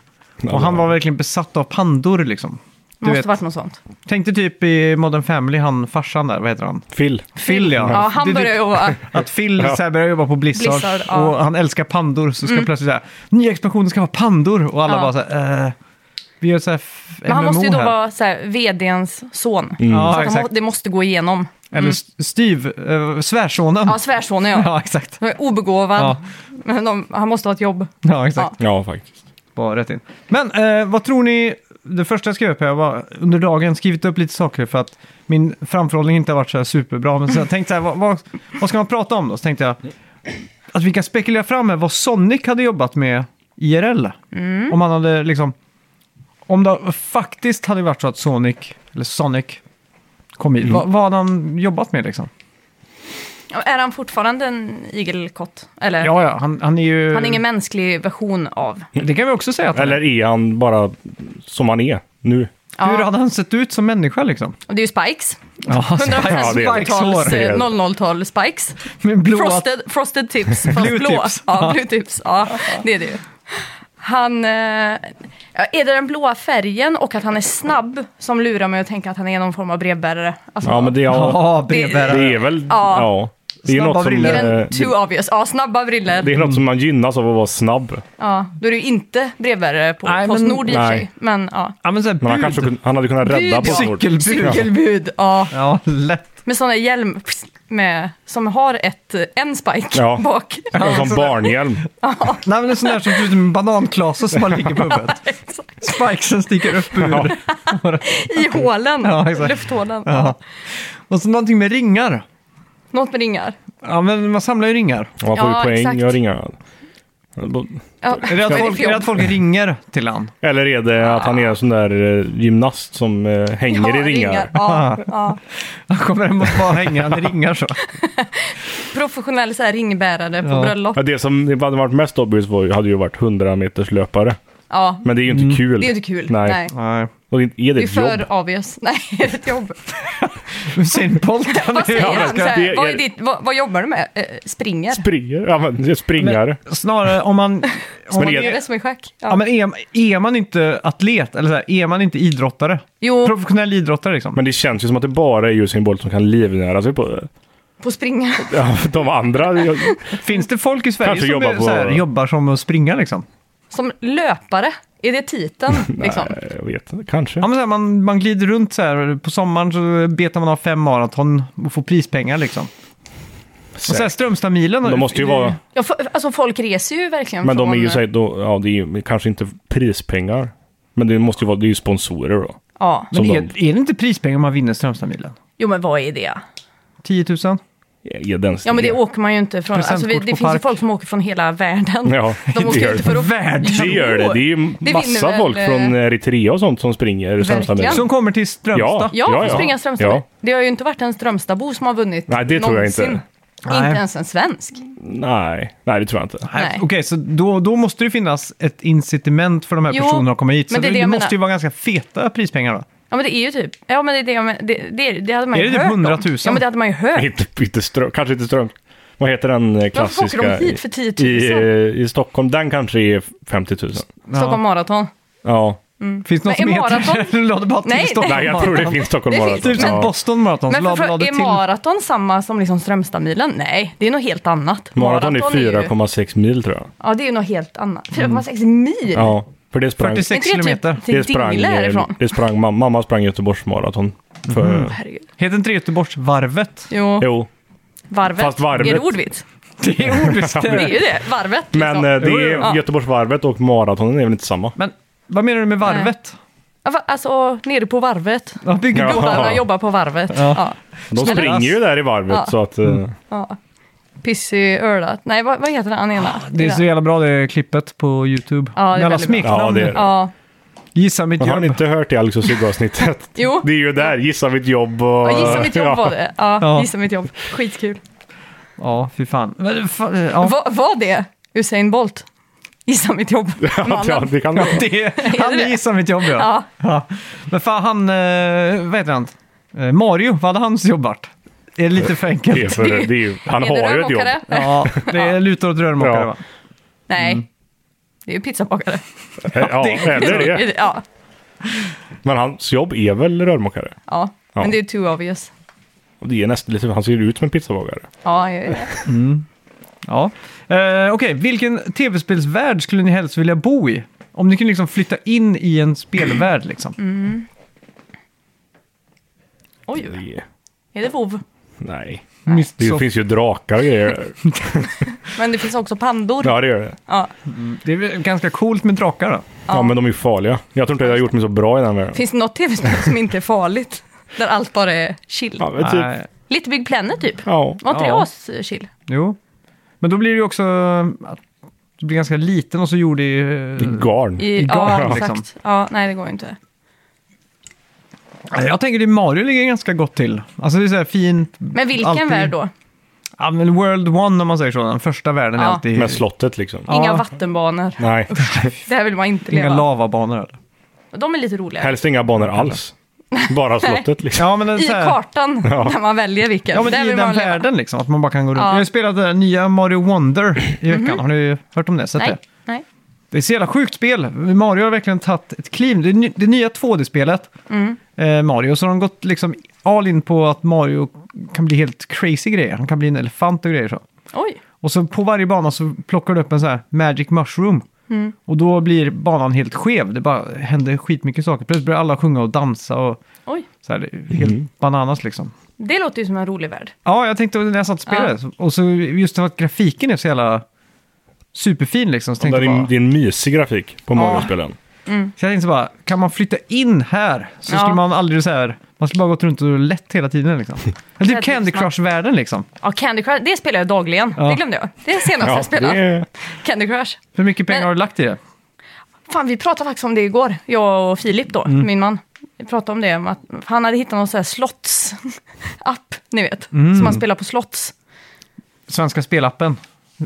A: Och han var verkligen besatt av pandor liksom. Du
C: Måste
A: vet,
C: varit något sånt.
A: Tänk dig typ i Modern Family, han farsan där, vad heter han?
B: Phil.
A: Phil ja.
C: Ja, han
A: Det är
C: började
A: typ <laughs>
C: jobba.
A: Att Phil
B: Ja.
A: så här, börjar jobba på Blizzard,
C: Blizzard, ja. Mm.
A: och han älskar pandor så ska plötsligt så här, nya expansionen ska vara pandor och alla
C: Ja.
A: bara så här, eh, vi gör så här f-
C: Men han
A: MMO
C: måste ju då
A: här.
C: vara Mm. så här, vdns son.
B: Mm.
A: Ja,
C: så att han,
A: exakt.
C: må- det måste gå igenom.
A: Eller st- styv, eh, svärsonen.
C: Mm. Ja, svärsonen ja.
A: Ja, exakt.
C: Han är Obegåvad.
A: Ja.
C: Men de, han måste ha ett jobb.
A: Ja, exakt.
B: Ja, faktiskt.
A: Bara rätt in. Men eh, vad tror ni, det första jag skrev upp här, jag var under dagen skrivit upp lite saker för att min framförhållning inte har varit så här superbra. Men så jag tänkte så här, vad, vad, vad ska man prata om då? Så tänkte jag att vi kan spekulera fram med vad Sonic hade jobbat med IRL.
C: Mm.
A: Om han hade liksom, om det faktiskt hade varit så att Sonic, eller Sonic, kom
B: Mm.
A: hit, vad, vad hade han jobbat med liksom?
C: Ja, Är han fortfarande en igelkott? Eller?
A: Ja, ja, han, han är ju...
B: eh,
C: Han är ingen mänsklig version av.
A: Det kan vi också säga att han är.
B: Eller är han bara som han är nu?
A: Hur
C: Ja.
A: hade han sett ut som människa liksom?
C: Och det är ju Spikes.
A: Ja,
B: Ja, det är det.
C: 100%
B: Det är det.
C: 00-tal Spikes.
A: Med blåa...
C: Frosted,
B: <laughs>
C: frosted tips, fast
A: Blue
C: blå.
A: tips.
C: Ja, blue tips. Ja, det är det ju. Han, eh, ja, är det den blåa färgen och att han är snabb som lurar mig att tänka att han är någon form av brevbärare? Alltså,
B: Ja, men det, ja,
A: Ja, brevbärare.
B: det är väl...
C: Ja.
B: Ja. Det är
A: Snabba
B: något som...
A: brillor.
C: är
B: eh,
C: den
B: Det,
C: too obvious? Ja, snabba briller.
B: det är något som man gynnas av att vara snabb.
C: Ja, då är du inte brevbärare på
A: Nej, men-
C: Postnord i och för sig.
B: Nej.
C: Men ja.
A: Ja, men såhär
B: Men han kanske
A: bud.
B: kun- han hade kunnat rädda
C: Bud.
B: Postnord.
A: Cykelbud.
C: Cykelbud, ja.
A: Ja, lätt.
C: Med sådana hjälm med, som har ett, en spike
B: Ja.
C: <laughs> bak.
B: Som barnhjälm.
A: Nej, men det är sån där som ser ut som en bananklase som bara ligger på huvudet.
C: Exakt.
A: Spikesen sticker upp ur.
B: Ja.
C: I hålen,
A: Ja, exakt.
C: lufthålen.
A: Ja. Och så någonting med ringar.
C: Något med ringar.
A: Ja, men man samlar ju ringar.
B: Man får ju
C: Ja,
B: poäng
C: exakt.
B: och ringa.
C: Ja.
A: Är det att folk, är det att folk ringer till han?
B: Eller är det att han
C: Ah.
B: är en sån där eh, gymnast som eh, hänger i
C: Ja,
B: ringar?
C: Ja,
B: <laughs>
C: ja.
A: Han kommer hem och bara hänger, han ringar så.
C: Professionell så här, ringbärare på
A: Ja.
C: bröllop.
B: Ja, det som det hade varit mest obvious var, ju- hade ju varit 100 meters löpare.
C: Ja.
B: Men det är ju inte kul.
C: Det är ju inte kul.
B: Nej.
C: Nej.
A: Nej.
B: Och det är
C: Det
B: det
C: är
B: ett jobb?
C: för obvious. <laughs> Nej, det är ett
B: <laughs>
C: jobb.
A: Usain Bolt, han
C: <laughs> Vad
A: är
C: säger
B: Ja, men
C: han? Så
B: ska-
C: här,
B: det-
C: vad, är
B: är-
C: ditt, vad, vad jobbar du med? Eh, springer?
B: Springer? Ja, men det är springare.
A: Snarare om man... Om man
B: är-
C: Det är
A: är,
C: det som är schack. Ja.
A: ja, men är, är man inte atlet, eller så här, är man inte idrottare?
C: jo,
A: Professionell idrottare liksom.
B: Men det känns ju som att det bara är Usain Bolt som kan livnära sig på det.
C: på springa.
B: Ja, de andra... Jag,
A: Finns det folk i Sverige
B: Kanske
A: som
B: jobbar
A: är,
B: på-
A: så här, jobbar som att springa liksom?
C: Som löpare, är det titeln? liksom?
B: <laughs> nej, jag vet inte. Kanske.
A: Ja, men så här, man, man glider runt så här. På sommaren så betar man av fem maraton och får prispengar liksom. Och så här, Strömstadmilen.
B: De måste ju vara...
C: Ja, fo- alltså folk reser ju verkligen
B: Men de är
C: från-
B: ju så här, då, ja, det är ju kanske inte prispengar. Men det måste ju vara, det är ju sponsorer då.
C: Ja.
A: Men är,
B: som
A: är det inte prispengar om man vinner Strömstadmilen?
C: Jo, men vad är det?
A: 10 000?
B: Är den
C: Ja, men det åker man ju inte från. Alltså, vi,
A: Presentkort
C: det
A: på
C: finns ju
A: park.
C: folk som åker från hela världen.
B: Ja,
C: De åker
B: det
C: ju
B: gör
C: inte för att...
A: Värld!
B: Det gör det. Det är ju
C: Det vinner
B: massa
C: väl,
B: folk
C: eh,
B: från Eritrea och sånt som springer Strömstadmilen.
A: Som kommer till Strömstad.
C: Ja,
B: Ja,
C: ja,
B: ja.
C: springa Strömstad.
B: Ja.
C: Det har ju inte varit en Strömstadbo som har vunnit
B: Nej, det tror jag inte.
C: någonsin.
A: Nej.
C: Inte ens en svensk.
B: Nej, nej det tror jag inte. <laughs>
A: Nej,
C: nej.
A: Okej, så då, då måste det finnas ett incitament för de här
C: Jo,
A: personerna att komma hit. Så
C: men det
A: det,
C: är det jag
A: måste
C: menar.
A: ju vara ganska feta prispengar då.
C: Ja, men det är ju typ... Ja, men det är det jag men- det, det, är- det hade man
A: Är
C: ju
A: det typ
C: hört om.
A: 100 000?
C: Ja, men det hade man ju hört.
B: Inte, inte ström, kanske inte ström. Vad heter den eh,
C: Varför
B: klassiska?
C: åker de hit för 10 000?
B: I, eh, I Stockholm, den kanske är 50 000.
C: Stockholm Marathon.
B: Ja.
A: Finns det något
C: Mm. Men är
A: som heter <laughs>
C: maraton-
A: det? Lade bara till
C: Nej,
A: Stockholm
B: Nej,
C: <laughs>
A: <laughs>
B: jag tror det finns Stockholm
C: Det
B: bara.
C: finns
A: Typ som
B: ja.
A: Boston Marathon.
C: Men
A: lade-
C: för,
A: lade
C: för, är
A: till.
C: maraton samma som liksom Strömstadmilen? Nej, det är något helt annat.
B: Maraton är
C: ju-
B: 4,6 mil tror jag.
C: Ja, det är ju något helt annat. 4,6 mil?
B: Ja, för det sprang...
A: 46
C: Är inte det
A: kilometer.
C: Typ,
B: Det
C: till
B: sprang,
C: Dingle
B: eh,
C: härifrån. Mm.
B: det sprang mamma, mamma sprang Göteborgsmaraton. För,
C: Herregud.
A: Heter inte det Göteborgsvarvet?
C: Jo,
B: Jo,
C: varvet.
B: Fast varvet.
C: Är det ordvits?
A: <laughs> Det är ordvist.
C: Det är ju det, varvet.
B: men
C: liksom.
B: eh, det
A: Jo, jo,
B: är
A: ja.
B: Göteborgsvarvet och maratonen är väl inte samma?
A: Men vad menar du med varvet?
C: Ja, va- Alltså, nere på varvet.
A: Ja, bygger
B: Ja.
C: Gubbarna jobbar på varvet.
A: Ja.
C: Ja.
B: De
A: Snälla.
B: springer ju där i varvet
C: Ja. Mm.
B: så att... eh,
C: Ja. Pissy Örla. Nej, vad, vad heter han ena?
B: Ah,
A: Det är så jävla bra det klippet på YouTube.
C: Ja, det är
A: Med alla
C: väldigt bra.
A: smeknamn.
B: Ja, det är det.
C: Ja.
A: Gissa mitt
B: Men har
A: jobb.
B: ni inte hört det Alex och Sigge-avsnittet?
C: <laughs> Jo.
B: Det är ju där, gissa mitt jobb och...
C: ja, gissa mitt jobb var det. Ja,
A: Ja.
C: gissa mitt jobb. Skitkul.
A: Ja, fy fan. Men, fan ja.
C: Va, var det Usain Bolt? Gissa mitt jobb.
B: <laughs> <laughs> Ja, ja,
C: Mannen.
B: det kan det
A: <laughs> Ja,
B: vara.
C: <laughs>
A: det, han
C: det?
A: gissar mitt jobb ja.
C: Ja.
A: Ja. Men fan han, eh, vad heter han? Eh, Mario, vad hade hans jobb varit? Är det lite för
B: Det är
A: enkelt?
B: för, det är ju, han
C: Är det
B: har ju ett jobb. Mm.
C: rörmokare?
A: Ja, det är lutar åt rörmokare
B: Ja.
A: va?
C: Nej. Det är ju pizzabakare.
B: Eh,
C: <laughs>
B: Ja, eller det.
C: ja,
B: Men hans jobb är väl rörmokare?
C: ja. men det är ju too obvious.
B: Och det är nästan lite, han ser ju ut som en pizzabagare.
C: Ja, jag gör det.
A: Ja. Eh, Okej, vilken tv-spelsvärld skulle ni helst vilja bo i? Om ni kunde liksom flytta in i en spelvärld liksom.
C: Mm. Oj, är det vov?
B: Nej.
A: Mist-
B: Det
A: så-
B: finns ju drakar och
C: <laughs>
B: grejer.
C: Men det finns också pandor.
B: Ja, det gör det.
C: Ja.
A: Det är väl ganska coolt med drakar då.
B: Ja, men de är ju farliga. Jag tror inte jag har gjort mig så bra i den världen.
C: Finns det något tv-spel som inte är farligt? Där allt bara är chill.
B: Ja, men typ.
A: Nej,
C: Lite Big Planet typ.
B: Ja.
C: Var inte
A: Ja.
C: det as-chill?
A: jo. Men då blir det ju också att du blir ganska liten och så gjord i...
B: I
A: eh,
B: garn.
C: I,
A: garn,
C: ja,
A: liksom.
C: exakt. Ja, nej, det går ju inte.
A: Nej, Jag tänker att Mario ligger ganska gott till. Alltså det är så här fint.
C: Men vilken
A: alltid-
C: värld då?
A: Ja, men World One om man säger så. Den första världen är
C: Ja.
A: alltid...
B: Med slottet liksom.
A: Ja.
C: Inga vattenbanor.
B: Nej,
C: Där vill man inte
A: Inga
C: leva.
A: lavabanor. eller?
C: De är lite roliga.
B: helst inga banor alls. Bara slottet liksom.
A: Ja, men det är
C: I
A: så här-
C: kartan,
A: <laughs>
B: Ja.
C: när man väljer vilken.
A: Ja, men
C: där
A: i
C: vill
A: den
C: man leva.
A: världen liksom. Att man bara kan gå runt.
C: Ja. Mhm.
A: Jag har ju spelat det där nya Mario Wonder i veckan. Har ni hört om det? Sett
C: Nej,
A: det?
C: nej.
A: Det är så jävla sjukt spel. Mario har verkligen tagit ett kliv. Det, ny- det nya 2D-spelet eh, Mario, så har de gått liksom all in på att Mario kan bli helt crazy grejer. Han kan bli en elefant och grejer så.
C: Oj,
A: Och så på varje bana så plockar du upp en så här magic mushroom. Och då blir banan helt skev. Det bara händer skitmycket saker. Plötsligt börjar alla sjunga och dansa och
C: oj.
A: så här, det är helt bananas liksom.
C: Det låter ju som en rolig värld.
A: Ja, jag tänkte när jag satt och spelade. så- Och så just för att grafiken är så jävla superfin liksom. Så
B: Det
A: tänkte
B: är,
A: jag
B: en,
A: bara,
B: det är en mysig grafik på Mario-spelen.
A: så jag tänkte bara, kan man flytta in här? Så
C: Ja.
A: skulle man aldrig så här, man skulle bara gått runt och lätt hela tiden
C: <laughs>
A: liksom. Eller typ
C: Väldigt
A: Candy
C: smart.
A: Crush-världen liksom.
C: Ja, Candy Crush, det spelar jag dagligen.
A: Ja.
C: Det glömde jag. Det är det senaste jag spelade.
B: det är,
C: Candy Crush.
A: Hur mycket pengar
C: Men-
A: har du lagt i det?
C: Fan, vi pratade faktiskt om det igår, jag och Filip då,
A: Mm.
C: min man. Vi pratade om det, om att han hade hittat någon sån här slotts-app, ni vet.
A: Mm.
C: Som man spelar på slotts.
A: Svenska spelappen?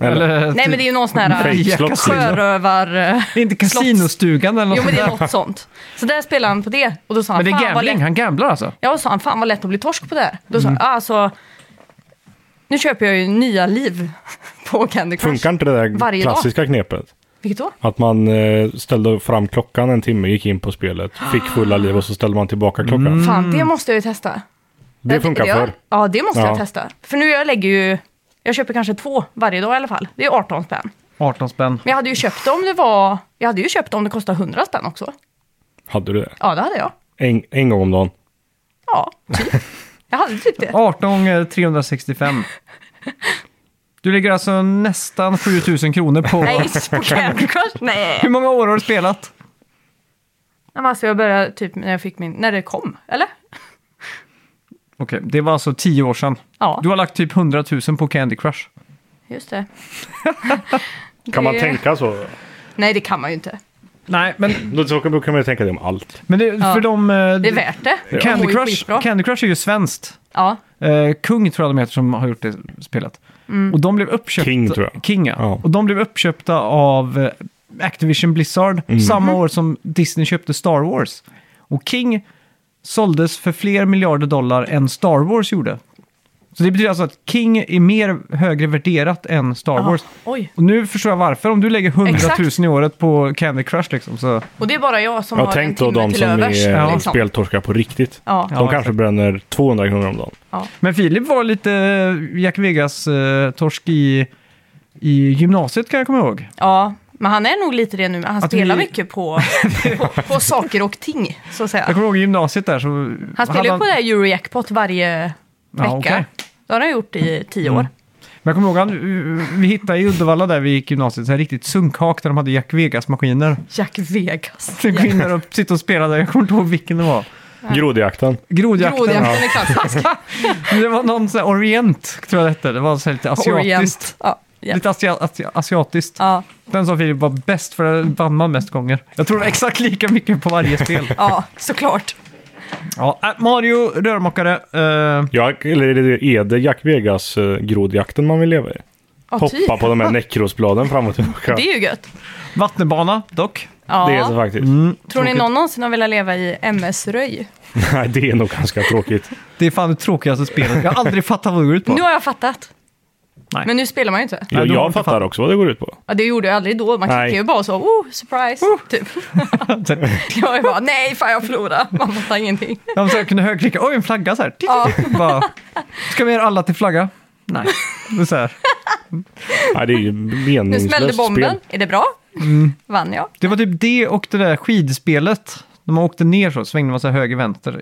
B: Eller-
C: Nej, men det är ju någon sån här eh,
B: Fake
A: Jackass-
B: slott, liksom.
C: sjörövar... eh,
A: Det är inte kasinostugan eller något
C: Jo, men det är
A: sånt där.
C: något sånt. Så där spelade han på det. Och då sa han,
A: Men det är
C: fan vad lätt
A: gambling, Mm. han gamblar alltså?
C: Jag sa han, fan vad lätt att bli torsk på det här. Då sa han, alltså, nu köper jag ju nya liv <laughs> på Candy Crush.
B: funkar inte det där
C: Varje dag.
B: klassiska knepet?
C: Vilket då?
B: Att man eh, ställde fram klockan en timme, gick in på spelet, fick fulla liv och så ställde man tillbaka klockan.
C: Fan,
A: Mm.
C: det måste jag ju testa.
B: Det funkar
C: jag,
B: förr.
C: Ja, det måste jag
B: Ja.
C: testa. För nu jag lägger ju, jag köper kanske två varje dag i alla fall. Det är 18 spänn.
A: 18 spänn.
C: Men jag hade ju köpt det om det var, jag hade ju köpt det om det kostade 100 spänn också.
B: Hade du det?
C: Ja, det hade jag.
B: En, en gång om dagen.
C: Ja, typ. Jag hade typ
B: <laughs>
C: det.
A: 18 gånger 365. Du ligger alltså nästan 7000 kronor på...
C: Nej, på Candy Crush? Nej.
A: <laughs> Hur många år har du spelat?
C: Men Alltså jag började typ när jag fick min, när det kom, eller?
A: Okej, det var alltså 10 år sedan.
C: Ja,
A: Du har lagt typ 100 000 på Candy Crush.
C: just det.
B: <laughs> Kan man
C: Det-
B: tänka så?
C: Nej, det kan man ju inte.
A: Nej, men,
B: Då så kan kan man ju tänka det om allt.
A: men det, för de... eh,
C: Det är värt det. De
A: Candy
C: mår ju
A: Crush,
C: skitbra.
A: Candy Crush är ju svenskt.
C: Ja,
A: Eh, Kung tror jag de heter som har gjort det spelet.
C: Mm.
A: Och de blev uppköpta...
B: King, tror jag.
A: King, ja.
B: Ja.
A: Och de blev uppköpta av eh, Activision Blizzard
B: Mm.
A: samma
C: Mm.
A: år som Disney köpte Star Wars. Och King såldes för fler miljarder dollar än Star Wars gjorde. Så det betyder alltså att King är mer högre värderat än Star
C: Ja.
A: Wars.
C: Oj.
A: Och nu förstår jag varför. Om du lägger 100 000
C: Ah. Exakt.
A: i året på Candy Crush liksom så...
C: och det är bara jag som
B: Jag
C: har
B: har
C: en
B: tänkt då
C: timme
B: de
C: till
B: som
C: övers.
B: är
A: Ja.
C: liksom.
B: speltorskar på riktigt.
C: Ja.
B: De
A: Ja,
B: kanske
A: exakt.
B: bränner 200 kronor om dagen.
A: Men Filip var lite eh, Jack Vegas-torsk i, i gymnasiet kan jag komma ihåg.
C: ja, men han är nog lite det nu. men Han
A: Att
C: spelar
A: vi- <laughs>
C: mycket på, på, på saker och ting, så att
A: Jag
C: säga.
A: kommer ihåg i gymnasiet där så...
C: Han spelar
A: hade
C: ju på det här Eurojackpot varje
A: Ja,
C: vecka.
A: okej. Mm.
C: Det har han gjort i tio år.
A: Men jag kommer ihåg, han, eh, vi hittade i Uddevalla där vi gick gymnasiet, så här riktigt sunkhak där de hade Jack Vegas-maskiner.
C: Jack Vegas.
A: Så vi gick in där och sitta och spelade, jag kommer inte ihåg vilken det var.
B: Grodjakten.
A: Grodjakten.
C: Grodjakten är klassisk.
A: Det var någon sån här orient, tror jag det hette. Det var så här lite asiatiskt.
C: Orient. Ja, ja.
A: Lite asia- asi- asiatiskt.
C: Ja,
A: Den som Filip var bäst för den vann man mest gånger. Jag tror exakt lika mycket på varje spel.
C: ja, såklart.
A: Ja, äh, Mario, rörmokare. eh,
B: Ja, eller är det- är det Jack Vegas eh, grodjakten man vill leva i?
C: Ja, typ.
B: Hoppa på
C: <laughs>
B: de här nekrosbladen fram och tillbaka.
C: Det är ju gött.
A: vattenbana dock.
C: Ja.
B: Det är så faktiskt.
A: Mm.
C: Tror ni
A: Tråkigt.
C: någon någonsin har velat leva i MS-röj?
B: <laughs> Nej, det är nog ganska tråkigt.
A: <laughs> Det är fan det tråkigaste spelet. Jag har aldrig fattat vad det går ut på.
C: Nu har jag fattat.
A: Nej.
C: Men nu spelar man ju inte.
A: Nej,
B: Jag,
A: de har
B: jag
A: inte
B: fattar också vad det går ut på.
C: Ja, det gjorde jag aldrig då. Man
B: Nej.
C: klickade ju bara så, oh, surprise, typ. <laughs> Jag är bara, nej, fan jag förlorade. Man fattar ingenting.
A: De så här kunde högerklicka, oj en flagga så här. Tick,
C: Ja.
A: tick, Bara, ska vi göra alla till flagga? Nej. Det är så här.
B: Nej, det är ju
C: Nu
B: meningslöst
C: smällde bomben.
B: Spel. Mm.
C: Är det bra? Vann jag?
A: Det var typ det och det där skidspelet. När man åkte ner så svängde man så här höger, vänster.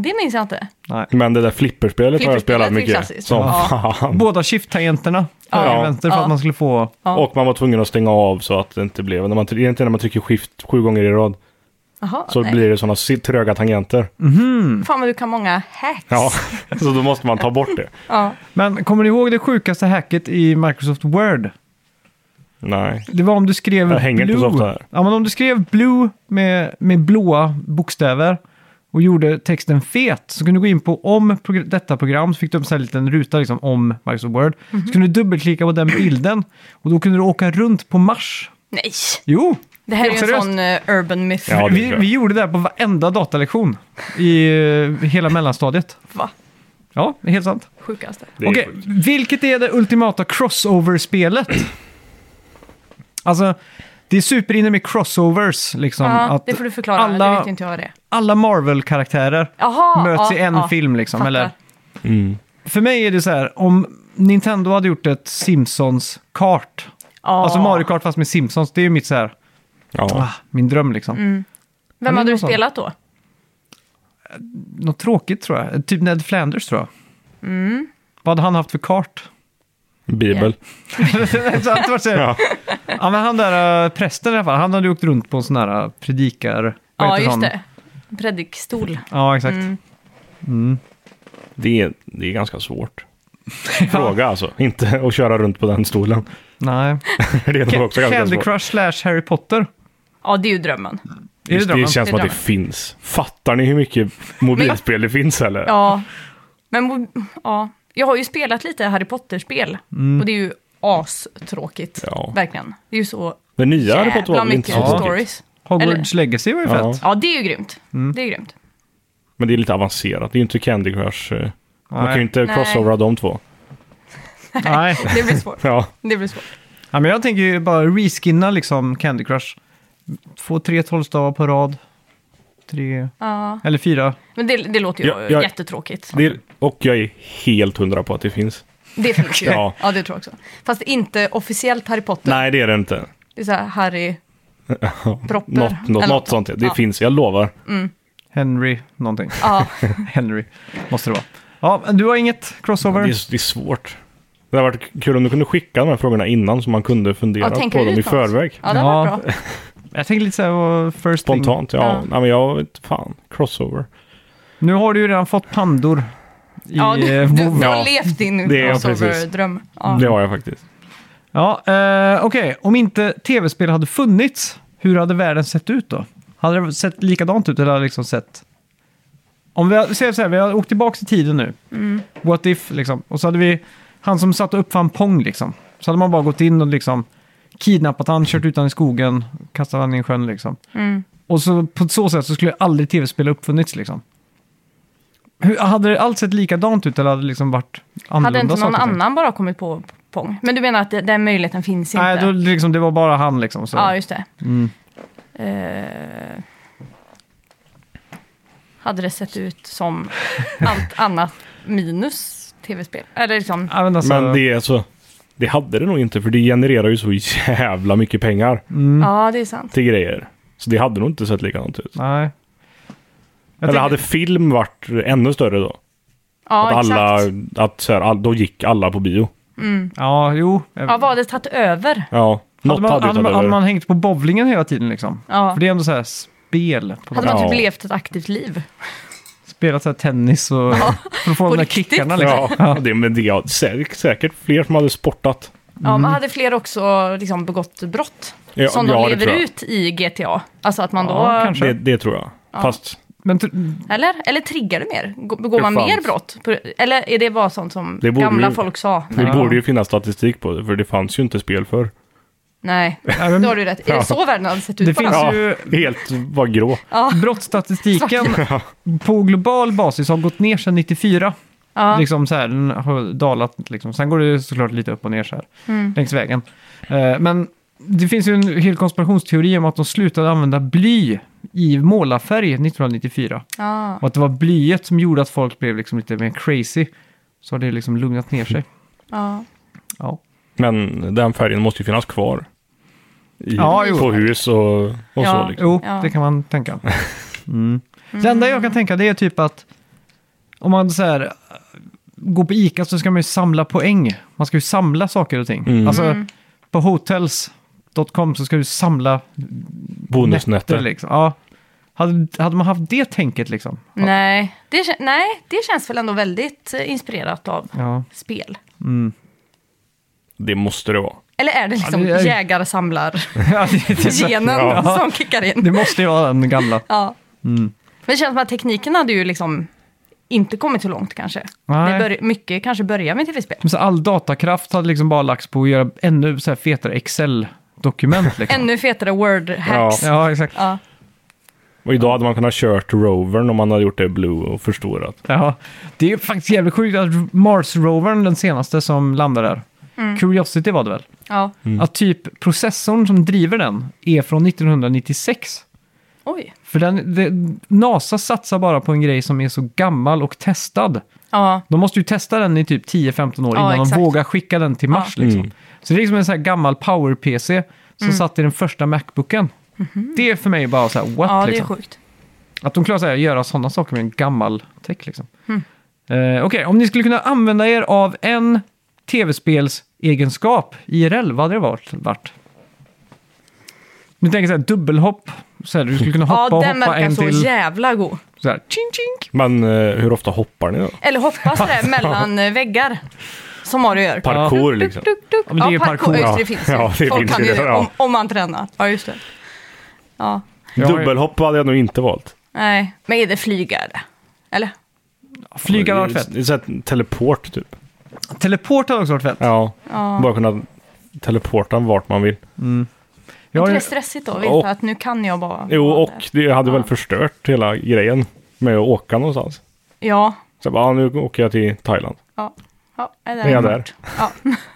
C: Det minns jag inte.
A: Nej.
B: Men det där flipperspelet har jag
C: Flipperspelet
B: spelat
C: är ju
B: mycket.
C: klassiskt.
B: Som
C: Ja.
B: fan.
A: Båda shift-tangenterna,
C: Ja.
A: höger, vänster, för
C: Ja.
A: att man skulle få...
C: Ja.
B: Och man var tvungen att stänga av så att det inte blev... När man, try- egentligen när man trycker skift sju gånger i rad
C: Jaha,
B: så
C: nej.
B: blir det sådana si- tröga tangenter.
C: Fan vad du kan många hacks.
B: Ja, <laughs> så då måste man ta bort det.
C: Ja.
A: Men kommer ni ihåg det sjukaste hacket i Microsoft Word?
B: Nej.
A: Det var om du skrev
B: Jag hänger inte
A: blue.
B: så ofta här.
A: Ja, men om du skrev blue med, med blåa bokstäver och gjorde texten fet så kunde du gå in på om progr- detta program så fick du upp en sån här liten ruta liksom, om Microsoft Word. Så kunde du dubbelklicka på den bilden och då kunde du åka runt på Mars.
C: Nej,
A: Jo!
C: det här är ju en
A: Seriöst?
C: sån eh, urban myth.
B: Ja, det tror
A: vi,
B: jag.
A: vi gjorde det här på varenda datalektion i eh, hela mellanstadiet.
C: Va?
A: Ja, det är helt sant.
C: Sjukaste.
B: Det är
A: Okej,
B: sjukt.
A: vilket är det ultimata crossover-spelet? Alltså, det är superinne med crossovers, liksom.
C: Ja,
A: att
C: det får du förklara.
A: alla-
C: Det vet inte jag vad det är.
A: alla Marvel-karaktärer
C: Jaha,
A: möts
C: ja,
A: i en
C: ja.
A: film, liksom.
C: Fattar.
A: Eller,
B: Mm.
A: för mig är det så här, om Nintendo hade gjort ett Simpsons-kart,
C: Ja.
A: alltså Mario Kart fast med Simpsons, det är ju mitt så här,
B: Ja.
A: ah, min dröm liksom.
C: Mm. Vem
A: Ja, det
C: hade
A: är
C: du
A: något
C: spelat då?
A: Något tråkigt tror jag, typ Ned Flanders tror jag.
C: Mm.
A: Vad hade han haft för kart? <laughs>
B: Bibel.
A: Så att det var så här,
B: Ja.
A: Ja, men han där äh, prästen i alla fall, han hade ju åkt runt på en sån här äh, predikar... vad
C: Ja,
A: heter
C: just
A: han?
C: det. Mm. Predikstol.
A: Ja, exakt.
B: Det, är, det är ganska svårt. Fråga alltså. Inte <laughs> att köra runt på den stolen. <laughs>
A: Nej.
B: Det är nog också ganska
A: Candy
B: svårt.
A: Crush slash Harry Potter.
C: Ja, det är ju drömmen.
A: Är det
B: Just, det
A: drömmen?
B: känns som att det
C: Det är
B: finns. Fattar ni hur mycket mobilspel det finns eller?
C: Ja. Men mo- ja. jag har ju spelat lite Harry Potter-spel. Och det är ju astråkigt.
B: Mm. Ja.
C: Verkligen. Det är ju så
B: Det nya Harry Potter var
C: jävla
B: väl inte
C: mycket
B: så tråkigt. Mm.
C: stories.
A: Hogwarts Legacy var ju
B: Ja.
A: fett.
C: Ja, det är ju grymt. Det är grymt.
B: Men det är lite avancerat. Det är ju inte Candy Crush. eh. Man
A: Nej.
B: kan ju inte
C: Nej.
B: crossovera de två.
A: Nej.
C: Det blir svårt.
B: Ja.
C: Det blir svårt.
A: Ja, men jag tänker ju bara reskinna liksom Candy Crush. Få tre tolvstavar på rad. Tre...
C: Ja.
A: Eller fyra.
C: Men det, det låter ju
B: Ja, jag-
C: jättetråkigt.
B: Det är, och jag är helt hundra på att det finns.
C: Det finns ju.
B: Ja.
C: Ja. det tror jag också. Fast inte officiellt Harry Potter.
B: Nej, det är det inte.
C: Det är så här Harry... Propper.
B: Något,
C: Eller
B: något, något sånt. Det
C: Ja.
B: finns, jag lovar.
A: Henry någonting. <laughs>
C: Ja.
A: Henry måste det vara. Ja, men du har inget crossover?
B: Det är, det är svårt. Det hade varit kul om du kunde skicka de här frågorna innan så man kunde fundera
C: Ja, tänka
B: på dem
C: ut
B: i
C: något.
B: förväg.
C: Ja, det har
A: Ja.
C: varit bra.
A: Jag tänker lite så här, vad first thing.
B: Spontant, ja.
C: Ja.
B: Nej, men jag vet fan. Crossover.
A: Nu har du ju redan fått pandor i
C: Ja, du,
A: eh,
C: du
A: WoW.
C: har
B: Ja.
C: levt din
B: Det är jag
C: crossover-dröm. Ja.
B: Det har jag faktiskt.
A: Ja, eh, okej. Om inte tv-spel hade funnits, hur hade världen sett ut då? Hade det sett likadant ut eller hade det liksom sett... Om vi hade- säger så här, vi har åkt tillbaka i tiden nu.
C: Mm.
A: What if, liksom. Och så hade vi han som satt och uppfann Pong, liksom. Så hade man bara gått in och liksom kidnappat han, kört ut han i skogen, kastat han i en sjön, liksom.
C: Mm.
A: Och så på så sätt så skulle aldrig tv-spel ha uppfunnits, liksom. Hur, hade det allt sett likadant ut eller hade det liksom varit annorlunda
C: Hade inte någon
A: saker, tänker du?
C: annan bara kommit på Pong? Men du menar att det- den möjligheten finns inte?
A: Nej, då, liksom, det var bara han liksom. Så.
C: Ja, just det.
B: Mm.
C: Eh, hade det sett ut som
B: <laughs>
C: allt annat minus tv-spel? Eller liksom,
A: Ja, men alltså,
B: Men det är så. Det hade det nog inte för det genererar ju så jävla mycket pengar
C: ja det är sant.
B: till grejer. Så det hade nog inte sett likadant ut.
A: Nej. Jag
B: Eller
A: tänker-
B: hade film varit ännu större då?
C: Ja,
B: att alla,
C: exakt.
B: att så här, all, då gick alla på bio.
A: Ja, jo.
C: Ja, vad hade tagit över?
B: Ja, något
A: hade, man,
B: hade ju
A: hade, man,
B: tagit
A: hade
B: över.
A: man hängt på bowlingen hela tiden liksom?
C: Ja.
A: För det är ändå så här spel. På
C: Hade
A: något-
C: man typ
B: Ja.
C: levt ett aktivt liv?
A: Spelat så här tennis och... För att få
C: på
A: de där
C: riktigt.
A: kickarna liksom.
B: Ja, <laughs> det, men det är säkert, säkert fler som hade sportat.
C: Ja, men hade fler också liksom begått brott?
B: Mm. Ja,
C: som
B: ja,
C: de
B: det tror
C: lever
B: jag.
C: ut i GTA? Alltså att man
A: Ja,
C: då...
A: kanske.
B: Det, det tror jag. Fast
A: Men tr-
C: Eller? Eller triggar det mer? Gå- Begår
B: Det
C: man mer
B: fanns.
C: brott? På- Eller är det bara sånt som
B: Det borde
C: gamla
B: ju-
C: folk sa?
B: det borde ju finnas statistik på det, för det fanns ju inte spel för.
C: Nej,
A: men-
C: då har du rätt. Är det så världen hade sett ut
A: Det
C: på
A: finns
C: den?
B: Ja,
A: Alltså, ju-
B: helt var grå.
A: brottsstatistiken på global basis har gått ner sedan 94.
C: Ja.
A: Liksom så här, den har dalat liksom. Sen går det såklart lite upp och ner så här
C: Mm.
A: längs vägen. Eh, men det finns ju en hel konspirationsteori om att de slutade använda bly i målarfärg 1994.
C: Ja.
A: Och att det var blyet som gjorde att folk blev liksom lite mer crazy. Så har det liksom lugnat ner
C: <laughs>
A: sig.
C: Ja.
A: Ja.
B: Men den färgen måste ju finnas kvar. I,
A: Ja, jo.
B: på hus och, och
C: Ja.
B: så. Liksom.
A: Jo,
C: Ja.
A: det kan man
C: <laughs>
A: tänka. Mm. Det enda jag kan tänka det är typ att om man så här, går på ICA så ska man ju samla poäng. Man ska ju samla saker och ting.
B: Mm.
A: Alltså på hotels.com så ska du samla nätter.
B: Bonusnätter.
A: Liksom. Ja. Hade, hade man haft det tänket liksom?
C: Nej. Det, kä- nej, det känns väl ändå väldigt eh, inspirerat av
A: Ja.
C: spel.
A: liksom.
B: Det måste det vara.
C: Eller är det liksom
A: det är-
C: jägar-samlar-genen
A: <laughs> Ja, det, det, Ja.
C: som kickar in?
A: det Mm. måste ju vara den gamla.
C: Ja. Men det känns som att tekniken hade ju liksom inte kommit så långt kanske.
A: Nej.
C: Det bör, mycket kanske börjar med tv-spel.
A: Men Så all datakraft hade liksom bara lagts på att göra ännu så här fetare Excel-dokument. Liksom.
C: Ännu fetare word-hacks. Ja.
A: Ja, exakt.
C: Ja.
B: Och idag hade man kunnat kört rovern om man hade gjort det blue och förstorat.
A: Ja, det är ju faktiskt jävligt sjukt att Mars-rovern, den senaste som landade där,
C: Mm.
A: Curiosity var det väl? Att typ processorn som driver den är från 1996.
C: Oj.
A: För den, det, NASA satsar bara på en grej som är så gammal och testad.
C: Ja.
A: De måste ju testa den i typ 10-15 år
C: Ja,
A: innan
C: exakt.
A: de vågar skicka den till Mars.
C: Ja. Mm.
A: Liksom.
B: Mm.
A: Så det är liksom en sån här gammal power-PC som satt i den första Macbooken. Det är för mig bara så här, what?
C: Mhm. ja, det är
A: liksom.
C: sjukt.
A: Att de klarar sig att göra sådana saker med en gammal tech liksom.
C: Hmm.
A: Eh, Okej, om ni skulle kunna använda er av en tv-spelsegenskap IRL, vad hade det varit? varit? Nu tänker jag så här, dubbelhopp. Så här, du skulle kunna hoppa
C: <laughs> ja,
A: och
C: den
A: hoppa
C: verkar
A: en
C: så
A: till.
C: jävla god.
A: Så här, ching, ching.
B: Men eh, hur ofta hoppar ni då?
C: Eller
A: <laughs>
C: hoppa sådär mellan eh, väggar. Som Mario gör.
B: Parkour liksom.
C: Duk, duk.
A: Ja, men det är ju parkour.
C: Ja, just det, det finns ju.
B: Ja, det
C: Folk
B: finns
C: kan
B: ju
C: ju,
B: det, ja.
C: om, om man tränar. Ja, just det. Ja,
A: Jag har ju-
B: Dubbelhopp hade jag nog inte valt.
C: nej. Men är det flygare? Eller?
A: Flyga hade varit fett.
B: Det är så här teleport typ.
A: Teleport hade också varit fett.
B: Ja.
C: Ja.
B: Bara kunna teleporta vart man vill.
A: Jag har
C: Inte
A: ju-
C: det stressigt då? att Veta
B: Och-
C: att nu kan jag bara...
B: Jo,
C: vara
B: och
C: där.
B: det hade väl förstört hela grejen med att åka någonstans.
C: Ja.
B: Så jag bara, ah, nu åker jag till Thailand.
C: Ja. ja är
B: Är jag där?
C: Ja.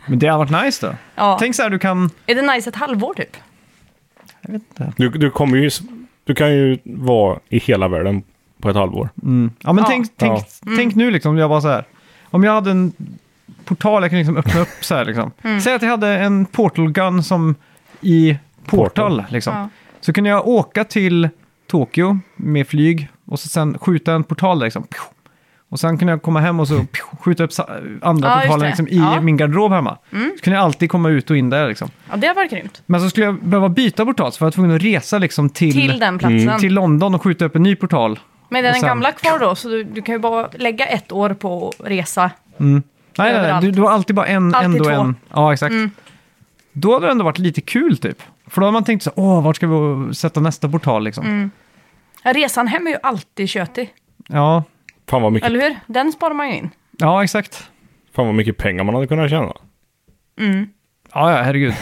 A: Men det hade varit nice då.
C: Ja.
A: Tänk så här, du kan...
C: Är det nice ett halvår typ?
A: Jag vet inte.
B: Du, du kommer ju... s- Du kan ju vara i hela världen på ett halvår.
A: Ja, men
C: Ja.
A: Tänk, tänk,
B: Ja. Mm.
A: tänk nu liksom, jag bara så här. Om jag hade en portal jag kunde liksom öppna upp så här liksom.
C: Mm.
A: Säg att jag hade en portal gun som i portal,
B: Portal.
A: liksom.
C: Ja.
A: Så kunde jag åka till Tokyo med flyg och så sen skjuta en portal där liksom. Pju. Och sen kunde jag komma hem och så
B: Mm.
A: pju, skjuta upp sa- andra
C: Ja, just
A: portalen
C: det.
A: liksom, i
C: Ja. Mm.
A: min garderob hemma. Så kunde jag alltid komma ut och in där liksom.
C: Ja, det var grymt.
A: Men så skulle jag behöva byta portal så var jag tvungen att resa liksom till,
C: Till den platsen.
B: Mm.
A: till London och skjuta upp en ny portal.
C: Men är
A: och
C: den
A: sen-
C: gamla kvar då? Så du, du kan ju bara lägga ett år på att resa.
A: Nej, nej, nej.
C: Överallt.
A: Du, du har alltid bara en,
C: Alltid
A: ändå
C: två. Mm.
A: en. Ja, exakt. Då hade det ändå varit lite kul typ. För då hade man tänkt så här, åh, vart ska vi sätta nästa portal liksom?
C: Mm. Resan hem är ju alltid tjötig.
A: Ja.
B: Fan vad, mycket,
C: Eller hur? Den sparar man ju in.
A: ja, exakt.
B: fan vad mycket pengar man hade kunnat
C: <laughs>
B: tjäna.
A: Ja, ja, herregud.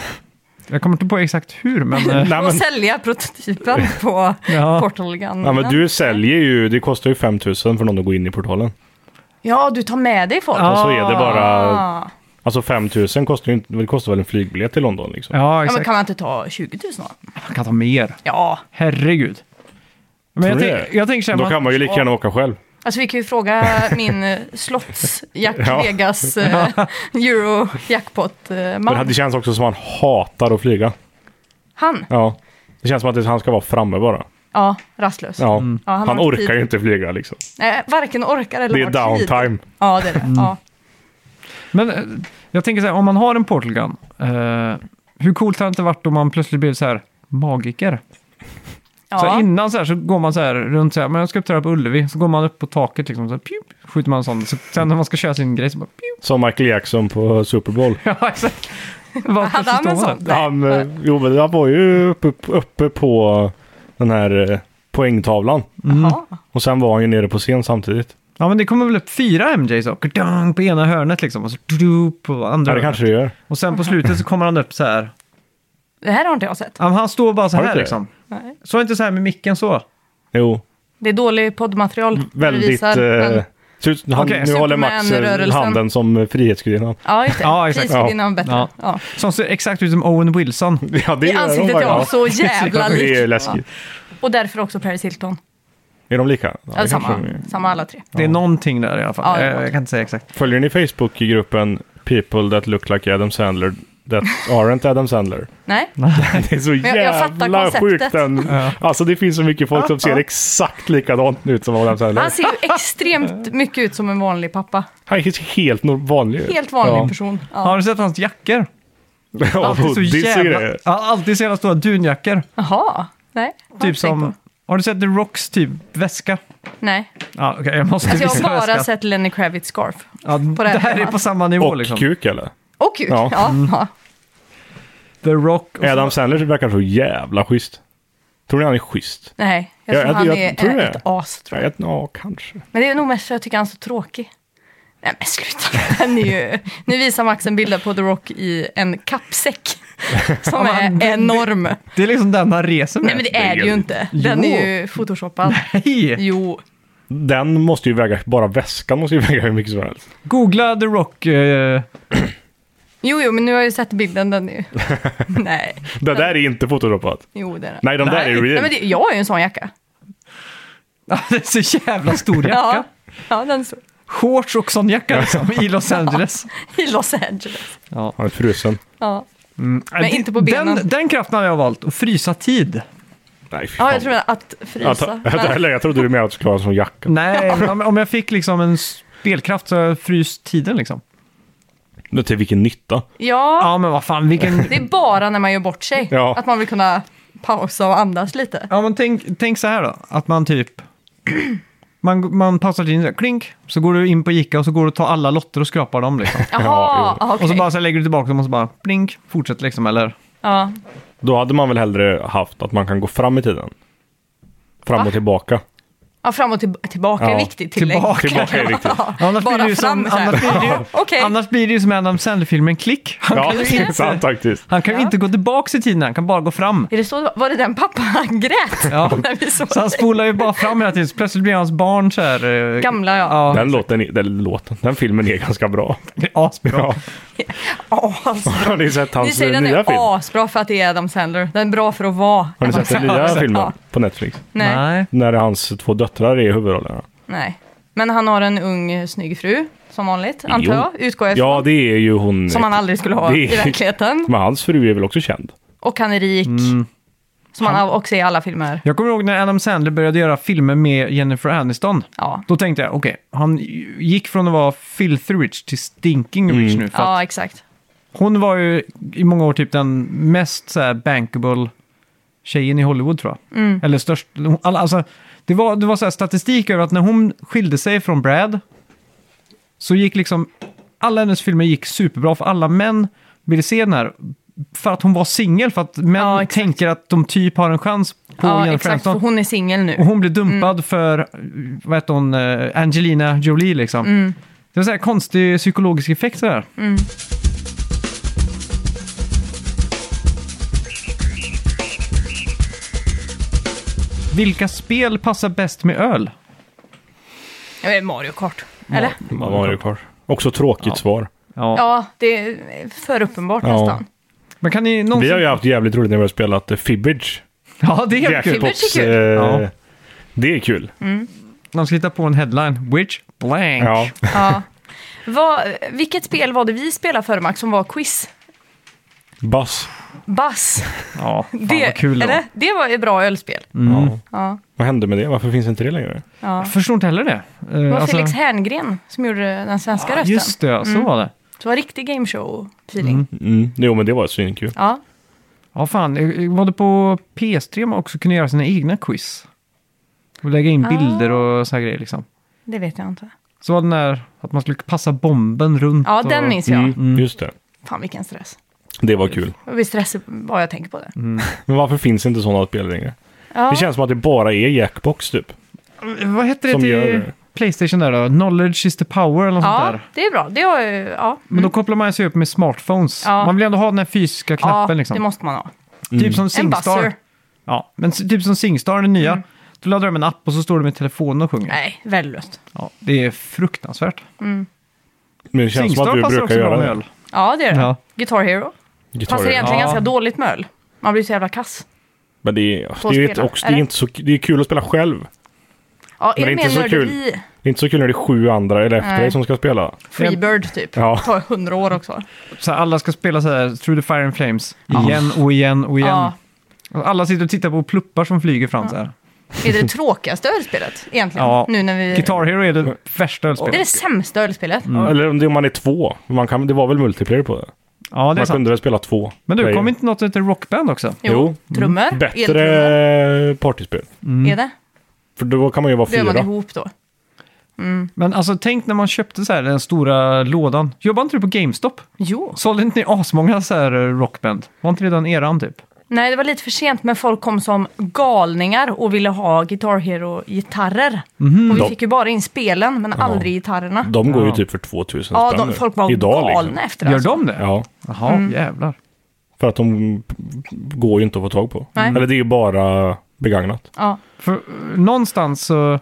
A: Jag kommer inte på exakt hur, men...
C: <laughs>
A: eh,
B: Nej,
C: Och
B: men,
C: sälja
B: <laughs>
C: prototypen på
A: Ja.
C: Portal Gun.
B: nej, men du säljer ju... Det kostar ju 5 000 för någon att gå in i portalen.
C: Ja, du tar med dig folk.
A: Ja.
B: Och så är det bara...
C: Ah.
B: Alltså 5 000 kostar ju inte... Det kostar väl en flygbiljett till London liksom.
A: ja,
C: Ja, men
A: exakt.
C: kan man inte ta 20 000 då?
A: Man kan ta mer.
C: Ja,
A: Herregud. Men jag,
B: Tror
A: tänk,
B: det.
A: jag tänker så här,
B: Då kan man ju lika gärna åka själv.
C: alltså vi kan ju fråga min eh, slottsjack
B: Ja.
C: Vegas eh,
B: Men
C: Eurojackpot-man.
B: det känns också som att han hatar att flyga.
C: Han?
B: Ja. Det känns som att det- han ska vara framme bara.
C: Ja, rastlös.
B: Ja.
C: Mm. Ja, han
B: han
C: har
B: orkar
C: tid.
B: ju inte flyga liksom.
C: Nej, varken orkar eller
B: Det är
C: har tid.
B: downtime. Mm.
C: Ja, det är det. Ja.
A: Men eh, jag tänker så här, om man har en portal gun, eh, hur coolt hade det inte varit om man plötsligt blev så här magiker? Så här,
C: Ja.
A: innan så här så går man så här runt så här, men jag ska uppträda på Ullevi. Så går man upp på taket liksom, så här, pjup, skjuter man en sån. Så, sen när man ska köra sin grej så bara pjup.
B: Som Michael Jackson på Super Bowl.
A: Ja, <laughs> exakt. Bara
C: Hade han en
A: plötsligt står man
C: sån?
A: där.
C: Nej.
B: Han, eh, jo men han var ju uppe, uppe på den här eh, poängtavlan.
C: Jaha.
B: Och sen var han ju nere på scen samtidigt.
A: Ja, men det kommer väl upp fyra MJs och dang, på ena hörnet liksom. Och så du på andra
B: Ja,
A: hörnet.
B: det kanske det gör.
A: Och sen på slutet så kommer han upp så här.
C: Det här har inte jag sett.
A: Ja, men Han står bara så
B: Har du
A: här
B: inte det?
A: liksom.
C: Nej.
A: Så inte så här med micken så.
B: Jo,
C: Det är dålig poddmaterial. vi
B: väldigt
C: visar, men-
B: eh, Ser ut- Han,
A: Okej.
B: nu håller Max eh,
C: Superman-rörelsen.
B: handen som eh, Frihetsgudinnan.
C: Ja, just det.
A: Ja,
C: Ja,
A: exakt.
C: exakt. Ja. bättre.
A: Ja.
C: Ja.
A: Som ser exakt ut som Owen Wilson.
B: <laughs> Ja, det
C: I
B: gör de
C: ansiktet
B: faktiskt.
C: ja, så jävla
B: Ja, <laughs> Det är
C: likt.
B: läskigt.
C: Och därför också Paris Hilton.
B: Är de lika? Ja,
C: Eller
B: det kanske
C: samma,
B: de är.
C: samma alla tre.
A: Det är någonting där i alla fall. Eh,
C: Ja,
A: jag,
C: ja.
A: jag kan inte säga exakt.
B: Följer ni Facebookgruppen People that look like Adam Sandler that aren't Adam Sandler?
C: Nej?
B: <laughs> Det är så
C: jag- jag fattar
B: jävla
C: konceptet.
B: sjukt den. Alltså det finns så mycket folk som ser exakt likadant ut som Adam Sandler.
C: Han ser ju
B: <laughs>
C: extremt mycket ut som en vanlig pappa.
B: Han är helt nor- vanlig. ut.
C: Helt vanlig
B: Ja.
C: person.
A: Har
C: Ja.
A: du sett hans jackor?
B: <laughs> Ja,
A: Alltid så
B: hoodies och
A: jävla...
B: grejer.
A: Ja, alltid så jävla stora dunjackor.
C: Jaha. Nej. har jag
A: Typ
C: inte
A: som...
C: tänkt
A: Har du sett The Rocks typ väska?
C: på. Nej.
B: typ
A: Ja, okej, jag måste
C: Alltså, jag
A: visa
C: har bara
A: väskan.
C: sett Lenny Kravitz scarf.
A: Ja,
C: på det här
A: det här är
C: temat.
A: på samma nivå
B: Och
A: liksom.
B: kuk eller?
C: Och kuk.
B: Ja.
C: Ja. Ja.
A: The Rock. Och
B: Adam Sandler verkar så jävla schysst. Tror ni han är schysst?
C: Nej, jag
B: Ja,
C: tror
B: jag-
C: han
B: jag
C: är
B: tror det.
C: ett as. Tror
B: Ja,
C: jag.
B: jag- ja, kanske.
C: Men det är nog mest för att jag tycker han är så tråkig. Nej men sluta. <laughs> Han är ju... Nu visar Max en bild på The Rock i en
B: <laughs>
C: kappsäck. Som
A: men
C: är
A: det-
C: enorm.
A: Det är liksom den han reser med.
C: Nej men det är det ju inte. Den
A: Jo.
C: är ju photoshoppad.
A: Hej!
C: Jo.
B: Den måste ju väga, bara väskan måste ju <laughs> väga hur mycket som helst.
A: Googla The Rock. eh, <laughs>
C: Jo, jo, men nu har jag ju sett bilden.
B: <laughs>
C: Den är ju... Nej,
B: Det där är inte photoshopat.
C: jo det är den.
B: Nej, de där
A: Nej.
B: är
C: Nej,
B: real.
C: men det, jag har ju en sån jacka.
A: det är så jävla stor jacka.
C: Ja, ja den står
A: Shorts och sån jacka liksom, i Los Angeles.
C: i Los Angeles.
A: Ja.
B: Han är frusen.
C: Ja,
A: Nej, det-
C: inte på
A: Eh, Den,
C: benen.
A: den kraften hade jag valt, att frysa tid.
B: Nej, fy
C: ja
B: fan.
C: jag tror att
B: jag,
C: frysa.
B: <laughs> jag, jag, jag trodde du menade att du skulle ha en sån jacka.
A: Nej, men om- om jag fick liksom en spelkraft så jag frys tiden liksom.
B: Men till vilken nytta?
C: Ja,
A: Ja, men vad fan, vilken...
C: det är bara när man gör bort sig.
B: Ja.
C: Att man vill kunna pausa och andas lite.
A: Ja, men tänk, tänk så här då, att man typ... <clears throat> Man, man pausar tiden, så här, klink, så går du in på Ica och så går du och tar alla lotter och skrapar dem liksom.
C: Jaha, ja, okej.
A: Och så bara så här, lägger du tillbaka dem och så bara blink, fortsätter liksom, eller?
C: Ja.
B: Då hade man väl hellre haft att man kan gå fram i tiden. Fram
C: Va?
B: och tillbaka.
C: ja, fram och till, tillbaka
B: Ja,
C: är viktigt tillägg.
A: tillbaka.
B: Tillbaka är viktigt.
A: Annars blir det
C: Bara
A: ju som,
C: fram så
A: annars blir det ju,
C: här. <laughs> Okej,
A: annars blir det ju som Adam Sandler-filmen Klick. Han
B: Ja, <laughs>
A: kan ju
B: det är
A: inte,
B: sant faktiskt.
A: han kan ju inte gå tillbaka i tiden, han kan bara gå fram.
C: är det så? Var det den pappa han grät?
A: Ja.
C: när vi såg
A: Så han
C: det?
A: spolar ju bara fram hela tiden, så plötsligt blir hans barn så här... eh,
C: Gamla ja.
A: Ja,
B: Den låten, är- den låten, den filmen är ganska bra. <laughs>
A: det är asbra.
B: Ja.
C: Asbra.
B: Har ni sett
C: alltså. Ni
B: hans nya
C: säger den är
B: film?
C: asbra för att det är Adam Sandler. Den är bra för att vara.
B: Har ni sett
C: <laughs>
B: den nya
A: Ja.
B: filmen på Netflix?
C: Nej. Nej.
A: Nej.
B: När hans två döttrar är i huvudrollerna.
C: Men han har en ung eh, snygg fru, som vanligt, antar jag. Utgår jag
B: Ja,
C: ifrån.
B: det är ju hon.
C: Som han aldrig skulle ha
B: Det-
C: i
A: <laughs>
C: verkligheten.
B: <laughs> Men hans fru är väl också känd?
C: Och han är rik.
A: Mm.
C: Som han också är i alla filmer.
A: Jag kommer ihåg när Adam Sandler började göra filmer med Jennifer Aniston.
C: Ja,
A: Då tänkte jag, okej, han gick från att vara filthy rich till stinking rich
B: Mm.
A: nu. För att
C: ja exakt.
A: hon var ju i många år typ den mest så här, bankable tjejen i Hollywood tror jag.
C: Mm.
A: Eller störst. alla- Alltså, det var, det var så här statistik över att när hon skilde sig från Brad så gick liksom alla hennes filmer gick superbra för alla män ville se den här. För att hon var singel, för att män
C: Ja, exakt.
A: tänker att de typ har en chans på
C: Ja,
A: Jennifer
C: exakt. För
A: Aniston.
C: hon är singel nu.
A: Och hon blev dumpad
C: Mm.
A: för, vad heter hon, eh, Angelina Jolie liksom.
C: Mm.
A: Det var så här konstig psykologisk effekt sådär. Vilka spel passar bäst med öl?
C: Ja, det är Mario Kart. Eller?
B: Mario Kart. Också tråkigt svar.
A: Ja.
C: Ja, det är för uppenbart
B: Ja.
C: nästan.
A: Men kan ni någonsin...
B: Vi har ju haft jävligt roligt när vi har spelat eh, Fibbage.
A: Ja, det är helt kul.
C: Fibbage är
B: Jackpots,
C: kul. Mm.
B: eh,
A: Ja.
B: Det är kul.
A: De ska hitta på en headline. Which blank.
B: Ja.
A: <laughs>
C: Ja. Vad, vilket spel var det vi spelade för Max som var quiz?
B: Bass.
C: Bass.
A: ja fan
C: det,
A: vad kul det var.
C: eller? det var ett bra ölspel.
B: Ja.
C: Ja.
B: Vad hände med det? Varför finns inte det längre?
C: Ja.
A: Jag förstår inte heller det. Eh,
C: Det var
A: alltså-
C: Felix Herngren som gjorde den svenska
A: Ja,
C: rösten. Mm.
A: Just det, ja, så var det.
C: Så det var riktig gameshow-feeling.
B: Mm. Jo, men det var svinkul.
C: Ja.
A: Ja, fan. eh, Var det på PS3 man också kunde göra sina egna quiz? Och lägga
C: Ah.
A: in bilder och så här grejer liksom.
C: Det vet jag inte.
A: Så var det när att man skulle passa bomben runt.
C: Ja,
A: och...
C: den minns jag.
B: Mm. Just det.
C: Fan vilken stress.
B: Det var kul.
C: Jag blir stressig vad jag tänker på det.
B: Men varför finns inte sådana spel längre?
C: Ja.
B: Det känns som att det bara är Jackbox typ.
A: Vad hette det
B: Som
A: till
B: gör-
A: Playstation där då? Knowledge is the power eller något sånt
C: ja,
A: där.
C: det är bra. Det har jag, ja.
A: Men då kopplar man sig upp med smartphones.
C: Ja.
A: Man vill ändå ha den här fysiska
C: Ja,
A: knappen liksom.
C: det måste man ha.
A: Typ som
C: En
A: Singstar.
C: buzzer. Mm.
A: Ja, men s- typ som Singstar, den nya. Du laddar hem en app och så står du med telefonen och sjunger.
C: Nej, värdelöst.
A: Ja, det är fruktansvärt.
B: Men det känns som att
A: Singstar
B: du
A: passar
B: brukar
A: också bra
B: göra
A: med
B: det.
A: öl.
C: Ja, det är det.
A: Ja.
C: Guitar Hero.
B: Gitarr.
C: Passar egentligen
A: Ja.
C: ganska dåligt med öl. Man blir så jävla kass.
B: Men det är,
C: Två
B: det är, ju inte,
C: spelare,
B: också, det är,
C: eller?
B: inte så, det är kul att spela själv.
C: Ja,
B: Men
C: är det
B: det är
C: mer
B: inte så kul.
C: nörderi?
B: Det är inte så kul när det är sju andra eller efter
C: Nej.
B: dig som ska spela.
C: Freebird typ.
B: Ja.
C: Tar hundra år också.
A: Så här, alla ska spela så här, Through the Fire and Flames, igen och igen och igen.
C: Ja.
A: Och Alla sitter och tittar på pluppar som flyger fram så här.
C: Det är det tråkigaste ölspelet egentligen.
A: Ja.
C: Nu när vi...
A: Guitar Hero är det värsta
C: Det är det
A: ölspelet.
C: sämsta ölspelet.
B: Eller om det- om man är två. Man kan, det var väl multiplayer på det?
A: Ja, det är
B: Man
A: sant.
B: kunde väl spela två.
A: Men du,
B: player.
A: kom inte något som heter Rockband också?
B: Jo.
C: Trummor. Eltrummor.
B: Bättre partyspel.
C: Är det?
B: För då kan man ju vara
C: Då gör man
B: fyra.
C: ihop då.
A: Men alltså tänk när man köpte så här, den stora lådan. Jobbade inte du på GameStop?
C: Jo.
A: Sålde inte ni asmånga så här eh, Rockband? Var inte det den eran typ?
C: Nej, det var lite för sent, men folk kom som galningar och ville ha Guitar Hero-gitarrer. Och vi
B: Mhm. De-
C: fick ju bara in spelen, men aldrig gitarrerna.
B: De går ju
A: Ja.
B: typ för 2000
C: ja,
B: spänn
C: de,
B: nu.
C: folk var
B: Idag,
C: galna
B: liksom.
C: efter det.
A: Gör
C: alltså.
A: de det?
B: Ja,
A: Jaha,
C: Mm.
A: jävlar.
B: för att de går ju inte att få tag på.
C: Nej.
B: Eller det är ju bara begagnat.
C: Ja.
A: För eh, någonstans så,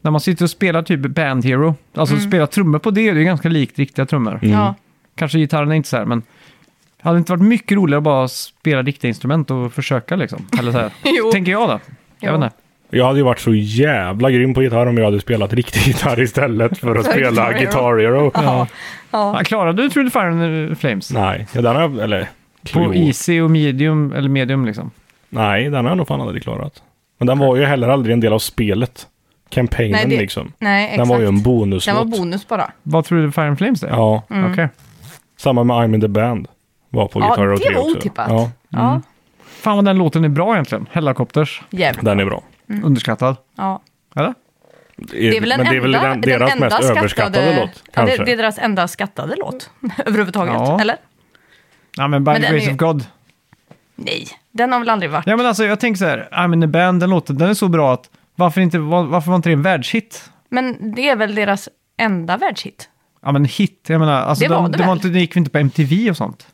A: när man sitter och spelar typ Band Hero, alltså
C: Mm.
A: spelar trummor på det, det är ju ganska likt riktiga trummor.
B: Mm.
C: Ja.
A: Kanske gitarren är inte så här, men det hade inte varit mycket roligare att bara spela riktiga instrument och försöka liksom? Eller så här.
C: <laughs> Jo.
A: Tänker jag då. Jag
C: Jo.
A: vet inte.
B: Jag hade ju varit så jävla grym på gitarr om jag hade spelat riktig <laughs> gitarr istället för att
C: För
B: spela
C: Guitar
B: Guitar Hero.
C: Ja.
A: Ja, klarade du Through the Fire and the Flames?
B: Nej, ja, den har jag... Eller...
A: På
B: jo.
A: easy och medium, eller medium liksom.
B: Nej, den har jag nog fan aldrig klarat. Men den var ju heller aldrig en del av spelet. Kampanjen
C: Nej, det-
B: liksom.
C: Nej,
B: Den
C: exakt.
B: var ju en bonuslåt.
C: Den var bonus bara.
A: Var Through the Fire and Flames det?
B: Ja,
C: Mm.
A: Okej.
B: samma med I'm in the band. Var på
C: Ja,
B: Guitar Hero
C: det
B: 3
C: var
B: också.
C: otippat.
B: Ja, Mm.
C: Ja,
A: Fan vad den låten är bra egentligen. Hellacopters.
C: jävligt.
B: den är bra.
C: Mm.
A: Underskattad.
C: Ja.
A: Eller?
C: Det är väl den
B: men det är väl
C: enda,
B: den, deras
C: den enda
B: mest överskattade låt,
C: Ja,
B: kanske.
C: det, det är deras enda skattade låt <laughs> överhuvudtaget,
A: Ja.
C: eller?
A: Ja men by
C: Men
A: the
C: den
A: grace
C: är-
A: of God.
C: Nej, den har väl aldrig varit...
A: Ja men alltså jag tänker så här, I'm in the band, den låten, den är så bra att varför, inte, var, varför var inte det en världshit?
C: Men det är väl deras enda världshit?
A: Ja men hit, jag menar, alltså
C: Det
A: den,
C: var det
A: den,
C: väl?
A: inte, den gick väl inte på MTV och sånt?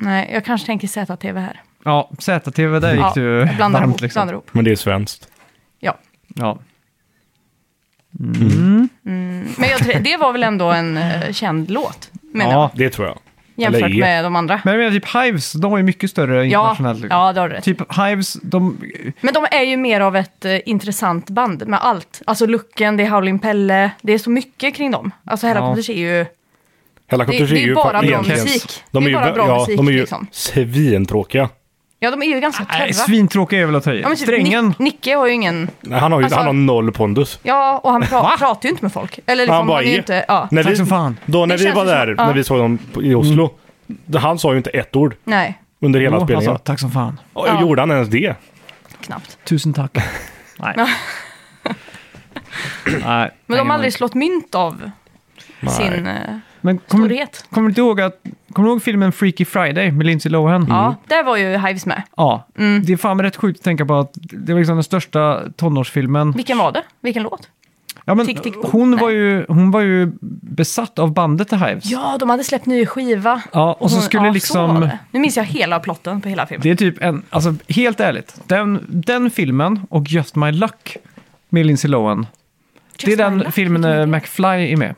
C: Nej, jag kanske tänker ZTV här.
A: Ja, ZTV, där gick
C: ja,
A: du
C: jag blandar
A: varmt
C: ihop,
A: liksom.
C: blandar ihop.
B: Men det är svenskt.
C: Ja.
A: Ja.
C: Men jag tror, det var väl ändå en eh, känd låt, menar
A: ja.
B: Det tror jag.
C: jag, jämfört
B: eller är.
C: med de andra.
A: Men jag menar typ Hives, de var ju mycket större
C: Ja,
A: internationellt. liksom.
C: ja, det har du rätt.
A: Typ Hives, de...
C: Men de är ju mer av ett eh, intressant band med allt. Alltså looken, det är Howlin' Pelle, det är så mycket kring dem. Alltså Hellacopters är ju... Det, det
B: Hellacopters
C: är ju bara bra
B: egentligen-
C: musik.
B: De är ju,
C: bara bra
B: ja,
C: musik
B: de är ju
C: liksom.
B: svintråkiga.
C: Ja, de är ju ganska
A: Nej,
C: torra.
A: svintråkiga är väl att ta i.
C: Ja, men typ
A: Strängen,
C: Nick, Nicke har ju ingen...
B: Nej, Han har ju
C: Alltså-
B: han har noll pondus.
C: Ja, och han pra,
A: Va?
C: pratar ju inte med folk. Eller liksom,
B: han E. bara
C: är ju
B: är.
C: inte... Ja.
B: När
A: Tack som fan. Mm.
B: Då när
C: Det
B: vi
C: känns
B: var
C: ju som-
B: där,
C: ja.
B: när vi såg dem på- i Oslo, han sa ju inte ett ord
C: Nej,
B: under hela
A: Jo,
B: spelningen.
A: alltså, tack som fan.
B: Och Gjorde han ens det?
C: knappt.
A: Tusen
C: <laughs>
A: tack. Nej. Nej.
C: Men de
A: ingen
C: har aldrig
A: aning.
C: slått mynt av
B: Nej.
C: sin eh,
A: Men kommer,
C: storhet.
A: kommer du inte ihåg att... Kommer du ihåg filmen Freaky Friday med Lindsay Lohan? Mm.
C: Ja, Mm. där var ju Hives med.
A: Ja. Det är fan rätt sjukt att tänka på att det var liksom den största tonårsfilmen.
C: Vilken var det? Vilken låt?
A: Ja, men
C: Tick, tick, boom.
A: hon, var
C: Nej.
A: ju, hon var ju besatt av bandet The Hives.
C: Ja, de hade släppt ny skiva.
A: Ja, och så
C: Hon-
A: skulle
C: ja,
A: liksom...
C: var det. Nu minns jag hela plotten på hela filmen.
A: Det är typ en, alltså helt ärligt, den, den filmen och Just My Luck med Lindsay Lohan, det är
C: Just
A: den
C: My Luck,
A: filmen
C: vilken
A: när
C: film.
A: McFly är med.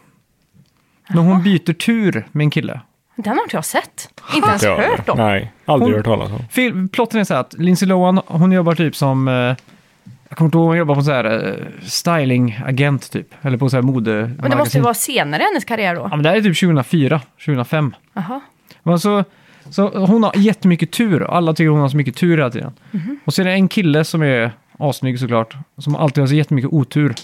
A: När hon byter tur med en kille.
C: Den har inte jag sett. Inte ens
B: Ja.
C: Alltså, hört om.
B: Nej, aldrig
A: Hon-
B: hört talas om.
A: Fil- Plotten är så här att Lindsay Lohan, hon jobbar typ som, eh, jag kommer inte ihåg, hon jobbar på så här eh, stylingagent typ, eller på så här mode.
C: Men det måste ju vara senare i hennes karriär då.
A: Ja, men det här är typ 2004, 2005.
C: Jaha.
A: Men så, så hon har jättemycket tur och alla tycker hon har så mycket tur hela tiden. Och så är det en kille som är assnygg såklart, som alltid har så jättemycket otur.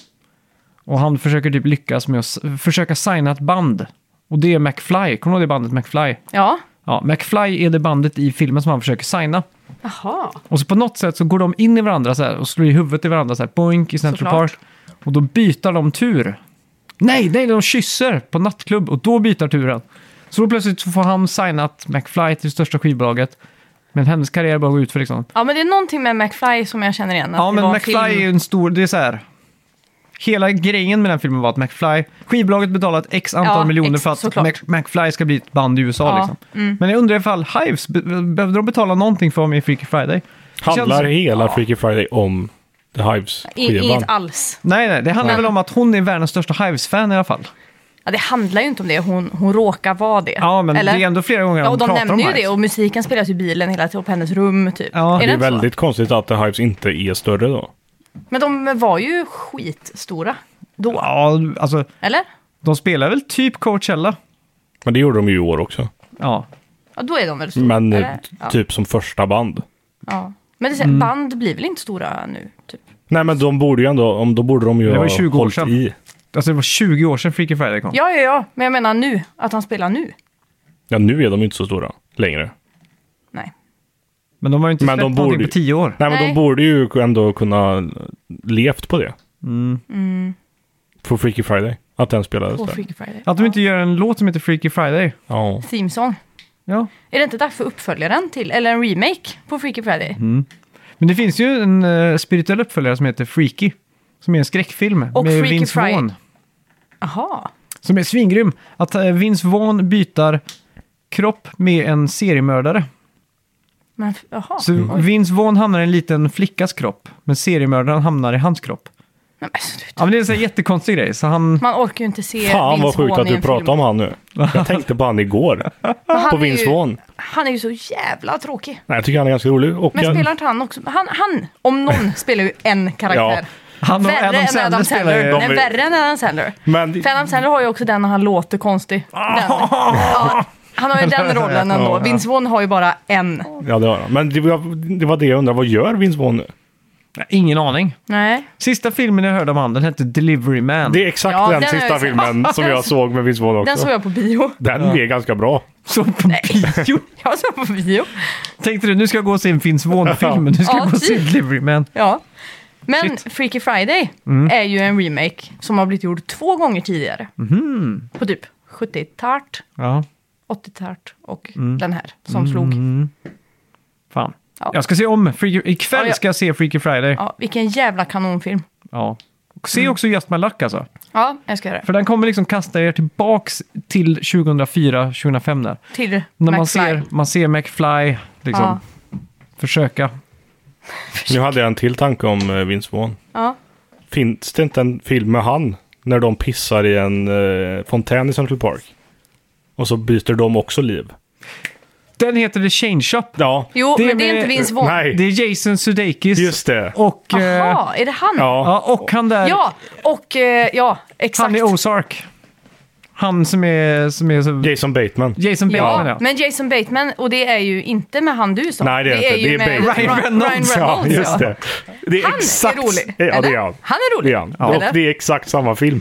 A: Och han försöker typ lyckas med att s- försöka signa ett band. Och det är McFly, kommer du ihåg det bandet McFly?
C: Ja.
A: Ja, McFly är det bandet i filmen som han försöker signa.
C: Jaha.
A: Och så på något sätt så går de in i varandra så här och slår i huvudet i varandra så här, boink i Central
C: Såklart.
A: Park. Och då byter de tur. Nej, nej, de kysser på nattklubb och då byter turen. Så då plötsligt så får han signat McFly till största skivbolaget. Men hennes karriär bara går ut för liksom.
C: Ja, men det är någonting med McFly som jag känner igen. att
A: Ja,
C: det
A: men
C: var en
A: McFly är
C: film.
A: ju en stor, det är så här. Hela grejen med den filmen var att McFly, skivbolaget betalat x antal
C: Ja,
A: miljoner
C: ex-
A: för att
C: såklart.
A: Mac, McFly ska bli ett band i USA.
C: Ja, mm.
A: Liksom. Men jag undrar ifall Hives, be- behövde de betala någonting för att vara med i Freaky Friday? Det känns-
B: Handlar hela Freaky Friday om
C: I,
B: Hives-skivan.
C: inget alls.
A: Nej, nej, det handlar
C: Nej.
A: väl om att hon är världens största Hives-fan i alla fall.
C: Ja, det handlar ju inte om det, hon, hon råkar vara det.
A: Ja, men
C: Eller?
A: det är ändå flera gånger
C: Ja,
A: hon
C: och de
A: pratar om
C: nämner ju
A: Hives.
C: det och musiken spelas ju i bilen hela tiden på hennes rum typ.
A: Ja,
C: är
A: det
B: Det är
C: inte så?
B: väldigt konstigt att The Hives inte är större då.
C: Men de var ju skitstora då,
A: Ja, alltså
C: eller?
A: de spelar väl typ Coachella.
B: Men det gjorde de ju i år också.
A: Ja,
C: Ja, då är de väl stora?
B: Men eh,
C: eller? Ja,
B: typ som första band.
C: ja. Men det,
B: Mm.
C: band blir väl inte stora nu? Typ.
B: Nej men de borde ju ändå, om, då borde de ju
A: Det var
B: ha
A: ju 20 år
B: hållit
A: sedan.
B: i.
A: alltså det var 20 år sedan Freaky Friday kom.
C: Ja, ja, ja, men jag menar nu, att han spelar nu.
B: Ja nu är de ju inte så stora längre.
C: Nej.
A: Men de har ju inte
B: Men de
A: släppt någonting
B: borde-
A: på 10 år.
B: Nej men
C: Nej.
B: de borde ju ändå kunna levt på det. På Freaky Friday. Att den spelades
C: Mm. På
B: där.
C: Freaky Friday.
A: Att de inte gör en låt som heter Freaky Friday.
B: Ja.
C: Theme song.
A: Ja.
C: Är det inte dags för uppföljaren till, eller en remake på Freaky Friday?
B: Mm.
A: Men det finns ju en eh, spirituell uppföljare som heter Freaky. Som är en skräckfilm
C: Och
A: med
C: Freaky
A: Vince
C: Friday.
A: Vaughn.
C: Aha.
A: Som är svingrym. Att eh, Vince Vaughn byter kropp med en seriemördare.
C: Men, f- aha.
A: Så Vince Vaughn hamnar i en liten flickas kropp. Men seriemördaren hamnar i hans kropp.
C: Nej, men sluta.
A: Ja, men det är en sån här jättekonstig grej. Så han...
C: Man orkar ju inte se
B: Fan vad
C: Vince
B: sjukt
C: Vaughn
B: att
C: i
B: du
C: en
B: pratar
C: film.
B: om han nu. Jag tänkte på han igår.
C: <laughs> han
B: på
C: är ju-
B: Vince Vaughn.
C: Han är ju så jävla tråkig.
B: Nej, jag tycker han är ganska rolig. Och
C: Men
B: jag,
C: spelar inte han också? Han, han
B: <laughs>
C: om någon, spelar ju en karaktär.
A: Han och
C: Värre
A: Adam
C: än
A: Sandler
C: Adam
A: spelar
C: Sandler.
A: ju...
B: De
C: Nej,
B: är-
C: värre än Adam Sandler.
B: men
C: För Adam Sandler har ju också den när han låter konstig. Den.
A: Ah.
C: Ja, han har
A: <laughs>
C: ju den rollen ändå. Vince Vaughn har ju bara en.
B: Ja, det har han. Men det, var- det var det jag undrade. Vad gör Vince Vaughn nu?
A: Ingen aning.
C: Nej.
A: Sista filmen jag hörde om han, den hette Delivery Man.
B: Det är exakt
C: Ja,
B: den,
C: den har jag
B: sista
C: sett.
B: filmen
C: <laughs>
B: som
C: Den-
B: jag såg med Vince Vaughn också.
C: Den såg jag på bio. <laughs>
B: Den är ganska bra.
A: Så på bio.
C: Jag såg på bio.
A: Tänkte du, nu ska jag gå och se en Vince Vaughn-film, men nu ska
C: Ja,
A: jag gå och se
C: typ.
A: Delivery Man.
C: Ja. Men
A: Shit. Mm.
C: Freaky Friday är ju en remake som har blivit gjord två gånger tidigare.
A: Mhm.
C: På typ 70-tart,
A: Ja,
C: 80-tart och
A: Mm.
C: den här som slog.
A: fan.
C: Ja.
A: Jag ska se om, Freaky... ikväll
C: Ja, jag-
A: ska jag se Freaky Friday. Ja.
C: Ja, Mm. vilken jävla kanonfilm.
A: Och se också Just My Luck alltså.
C: Ja, jag ska göra det.
A: För den kommer liksom kasta er tillbaks till 2004, 2005 där.
C: Till
A: När
C: McFly.
A: man ser, man ser McFly liksom
C: Ja.
A: försöka.
B: Nu hade jag en till tanke om eh, Vince Vaughn.
C: Ja.
B: Finns det inte en film med han när de pissar i en eh, fontän i Central Park? Och så byter de också liv.
A: Den heter The Change Shop.
B: Ja,
C: Jo,
A: Det är
C: men det är
A: med-
C: inte Vince Vaughn.
B: Nej.
A: Det är Jason Sudeikis.
B: just det.
A: Och, eh,
C: Jaha, är det han?
B: Ja,
A: ja, och han där,
C: Ja, och eh, ja, exakt.
A: han i Ozark. Han som är, som är så,
B: Jason Bateman.
A: Jason Bateman
C: Ja,
A: ja.
C: men Jason Bateman, och det är ju inte med han du sa.
B: Nej, det är inte.
C: ju
B: Det är
C: med
B: Bateman.
A: Ryan Reynolds.
B: Ja,
C: Ryan Reynolds, ja.
B: just det. Det är
C: Han
B: exakt...
C: är rolig.
B: Ja, det
C: eller?
B: är han.
C: Han
B: Det
C: är rolig.
B: är han.
C: Eller?
B: Och det är exakt samma film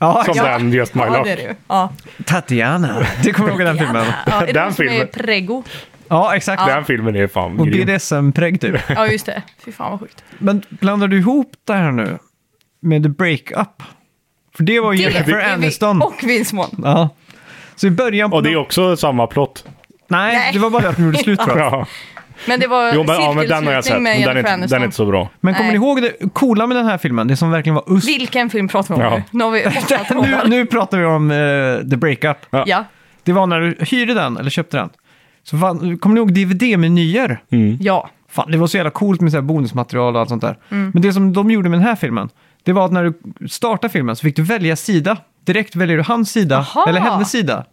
A: Ja,
B: som
A: ja.
B: den Just My
C: Ja,
B: Luck.
C: det är det ju. Ja.
A: Tatiana. Det kommer jag ihåg den filmen.
C: Ja, är det
B: Den
C: den som är
B: filmen.
C: Prego?
A: Ja, exakt.
B: Den filmen är fan
A: Och
B: grym.
A: BDSM-prägg
B: <laughs>
A: typ.
C: Ja, just det. Fy fan vad sjukt.
A: Men blandar du ihop det här nu med The Breakup? För det var ju
C: är
A: Jennifer
C: vi-
A: Aniston.
C: Och Vince Vaughn.
A: Ja. Så i början på...
B: Och det är också samma plott.
A: Nej,
C: Nej.
A: det var bara att de gjorde
B: <laughs>
A: slut tror jag.
B: Ja.
C: Men det var
B: Jo, men, ja, men den har jag sett.
C: cirkelslutning
B: Men den,
C: med
B: är, inte-
C: Jennifer Aniston.
B: den är inte så bra.
A: Men kommer
C: Nej.
A: ni ihåg det coola med den här filmen? Det som verkligen var USP.
C: Vilken film pratar vi om
B: Ja.
C: nu? Nu har
A: <laughs>
C: vi åtta
A: Nu,
C: timmar.
A: nu pratar vi om eh, The Breakup.
C: Ja.
A: Det var när du hyrde den, eller köpte den. Så fan, kommer ni ihåg DVD-menyer?
C: Ja.
A: Fan, det var så jävla coolt med så här bonusmaterial och allt sånt där.
C: Mm.
A: Men det som de gjorde med den här filmen, det var att när du startade filmen så fick du välja sida. Direkt väljer du hans sida,
C: Aha.
A: eller hennes sida.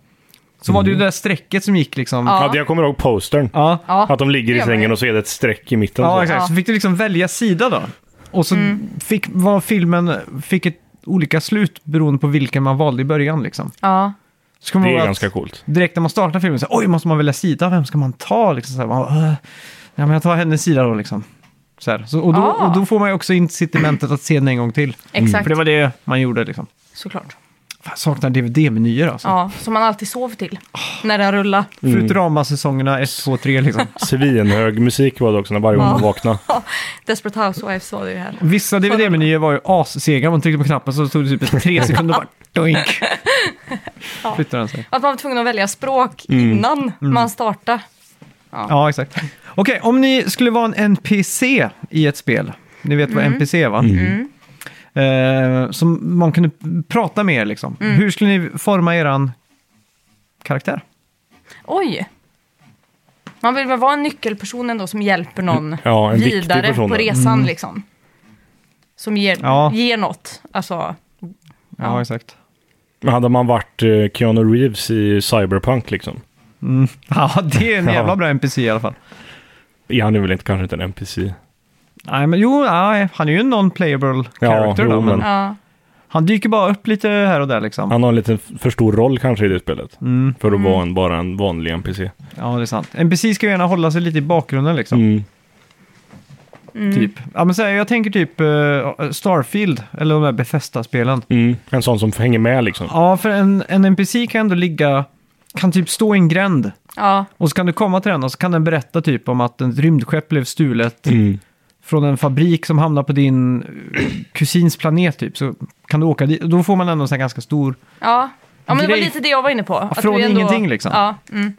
A: Så var det ju det där strecket som gick liksom.
C: Ja.
B: Ja. jag kommer ihåg postern.
A: Ja, ja.
C: ja.
B: Att de ligger
C: Det
B: i
C: gör man
B: sängen
C: ju.
B: och så är det ett streck i mitten. så.
A: exakt.
C: Ja.
A: Så fick du liksom välja sida då. Och så fick, var filmen, fick ett olika slut beroende på vilken man valde i början liksom.
C: Ja.
A: Så kommer
B: Det
A: jag ihåg
B: är
A: att
B: ganska coolt.
A: Direkt när man startar filmen så här, oj, måste man välja sida, vem ska man ta? Liksom, så här, man, bara, "Åh, ja, men jag tar hennes sida då liksom. Så här. Så, och, då,
C: Ah.
A: och då får man ju också incitamentet att se den en gång till. Mm.
C: Exakt.
A: För det var det man gjorde liksom.
C: Såklart.
A: Fan, jag saknar DVD-menyer alltså.
C: Ja, som man alltid sov till. När den rullar.
A: Futurama-säsongerna 1, 2, 3 liksom.
B: Svinhög musik var det också när varje gång man vaknade.
C: Desperate Housewives var det ju här.
A: Vissa DVD-menyer var ju assega, man tryckte på knappen så tog det typ tre sekunder och bara doink. Flyttade den sig.
C: Att man var tvungen att välja språk
B: Mm.
C: innan man startade.
A: Ja, exakt. Okej, om ni skulle vara en NPC i ett spel. Ni vet vad NPC va? Eh, som man kunde prata med er liksom. Hur skulle ni forma eran karaktär?
C: Oj! Man vill väl vara en nyckelperson ändå som hjälper någon
B: Ja, en viktig
C: vidare
B: person Mm.
C: på
B: då.
C: resan liksom. Som ger,
A: Ja.
C: ger något. Alltså,
A: Ja, exakt.
B: Men hade man varit eh, Keanu Reeves i Cyberpunk liksom?
A: Ja, det är en jävla
B: Ja.
A: bra NPC i alla fall.
B: Är han är väl inte, kanske inte en NPC?
A: Nej, men jo, nej, han är ju en non-playable
B: Ja,
A: character.
B: jo,
A: då, men
B: men-
C: ja.
A: Han dyker bara upp lite här och där liksom.
B: Han har en lite för stor roll kanske i det spelet.
A: Mm.
B: För att vara en, bara en vanlig NPC.
A: Ja, det är sant. NPC ska ju gärna hålla sig lite i bakgrunden liksom.
B: Mm.
A: Typ. Ja, men så här, jag tänker typ eh, Starfield, eller de där Bethesda-spelen.
B: Mm. En sån som hänger med liksom.
A: Ja, för en, en NPC kan ändå ligga, kan typ stå i en gränd.
C: ja.
A: Och så kan du komma till den och så kan den berätta typ om att ett rymdskepp blev stulet
B: Mm.
A: från en fabrik som hamnar på din eh, kusins planet typ. Så kan du åka dit. Då får man ändå en sån här ganska stor...
C: Ja. ja, men det var
A: Grej-
C: lite det jag var inne på. Att
A: från
C: du
A: ingenting, liksom.
C: Ja, mm.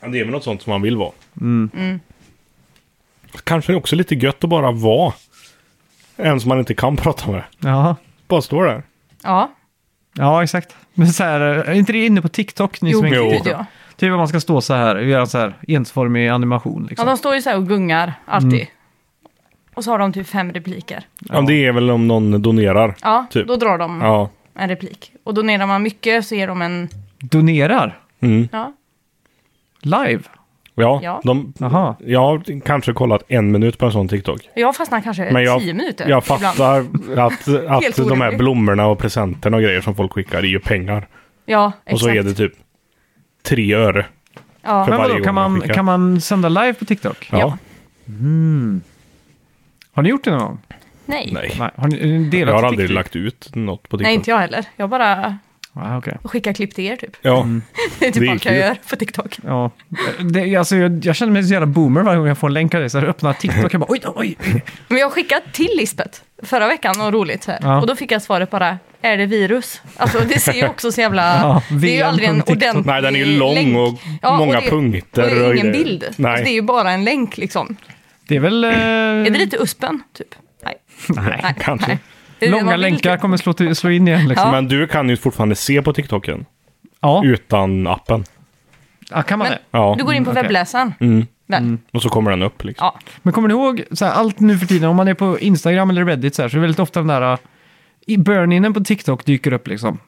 B: Ja, det är väl något sånt som man vill vara.
A: Mm.
B: Kanske är det också lite gött att bara vara. En som man inte kan <laughs> prata med.
A: Ja,
B: Bara stå där.
C: ja.
A: ja exakt. Men så här, eh, är inte det inne på TikTok? Ni
C: Jo,
A: som är inne på
B: Jo.
C: gud
A: TikTok?
C: ja.
A: Typ att man ska stå så här och göra en så här ensformig animation.
C: ja.
A: Liksom.
C: De står ju så här och gungar alltid.
A: Mm.
C: Och så har de typ fem repliker.
B: Ja. Det är väl om någon donerar.
C: Ja,
B: Typ.
C: då drar de
B: Ja.
C: en replik. Och donerar man mycket så ger de en...
A: Donerar
B: Mm.
C: Ja,
A: live.
B: Ja,
C: Ja.
B: De,
A: Jaha.
B: jag har kanske kollat en minut på en sån TikTok.
C: jag fastnar kanske
B: Men jag,
C: tio minuter
B: jag
C: ibland.
B: fattar <laughs> att, att
C: <laughs> Helt
B: de här
C: orimligt.
B: blommorna och presenterna och grejer som folk skickar är ju pengar.
C: Ja, exakt.
B: Och så är det typ tre öre.
C: ja.
B: för
A: Men
B: varje
A: vadå,
B: gång
A: kan
B: man
A: man,
B: skickar.
A: kan man sända live på TikTok?
B: Ja.
C: Ja.
A: Har ni gjort det någon gång?
C: Nej. Nej.
B: Nej.
A: Nej, har ni eh, delat
B: Jag har
A: på
B: aldrig
A: TikTok?
B: lagt ut något på TikTok.
C: inte jag heller. Jag bara
A: Ah, okej.
C: skickar klipp till er typ. <laughs>
B: Ja.
C: Det är typ
B: Det är
C: allt jag
B: kul.
C: gör på TikTok.
A: Ja, det, alltså, jag, jag känner mig så jävla boomer varje gång jag får en länk av dig. Så jag öppnar TikTok och bara oj, oj, oj.
C: Men jag skickade till Lisbeth förra veckan och roligt så här.
A: Ja.
C: Och då fick jag svaret bara, är det virus? Alltså det ser ju också så jävla...
B: <laughs>
A: Ja,
C: det är ju aldrig en
A: VM.tiktok.
B: <laughs>
C: ordentlig
B: Nej, den är ju lång
C: länk.
B: och många punkter
C: Och det är
B: och
C: ingen
B: grejer.
C: bild.
B: Nej. Mm.
C: Alltså, det är ju bara en länk liksom.
A: Det är väl... Eh,
C: Är det lite USPen typ? Nej.
A: Nej,
B: kanske.
C: Det är det
A: Långa
C: man vill,
A: länkar
C: typ.
A: kommer slå, till, slå in igen. Liksom.
C: Ja.
B: Men du kan ju fortfarande se på TikToken
A: Ja.
B: Mm.
A: Ja.
B: utan appen.
A: kan man
C: Men-
A: det?
B: Ja.
C: Du går in på
A: Mm, okej.
C: webbläsaren. Väl?
B: Och så kommer den upp liksom.
C: Ja.
A: Men kommer ni ihåg, så här, allt nu för tiden, om man är på Instagram eller Reddit så, här, så är det väldigt ofta den där uh, i burn-inen på TikTok dyker upp liksom.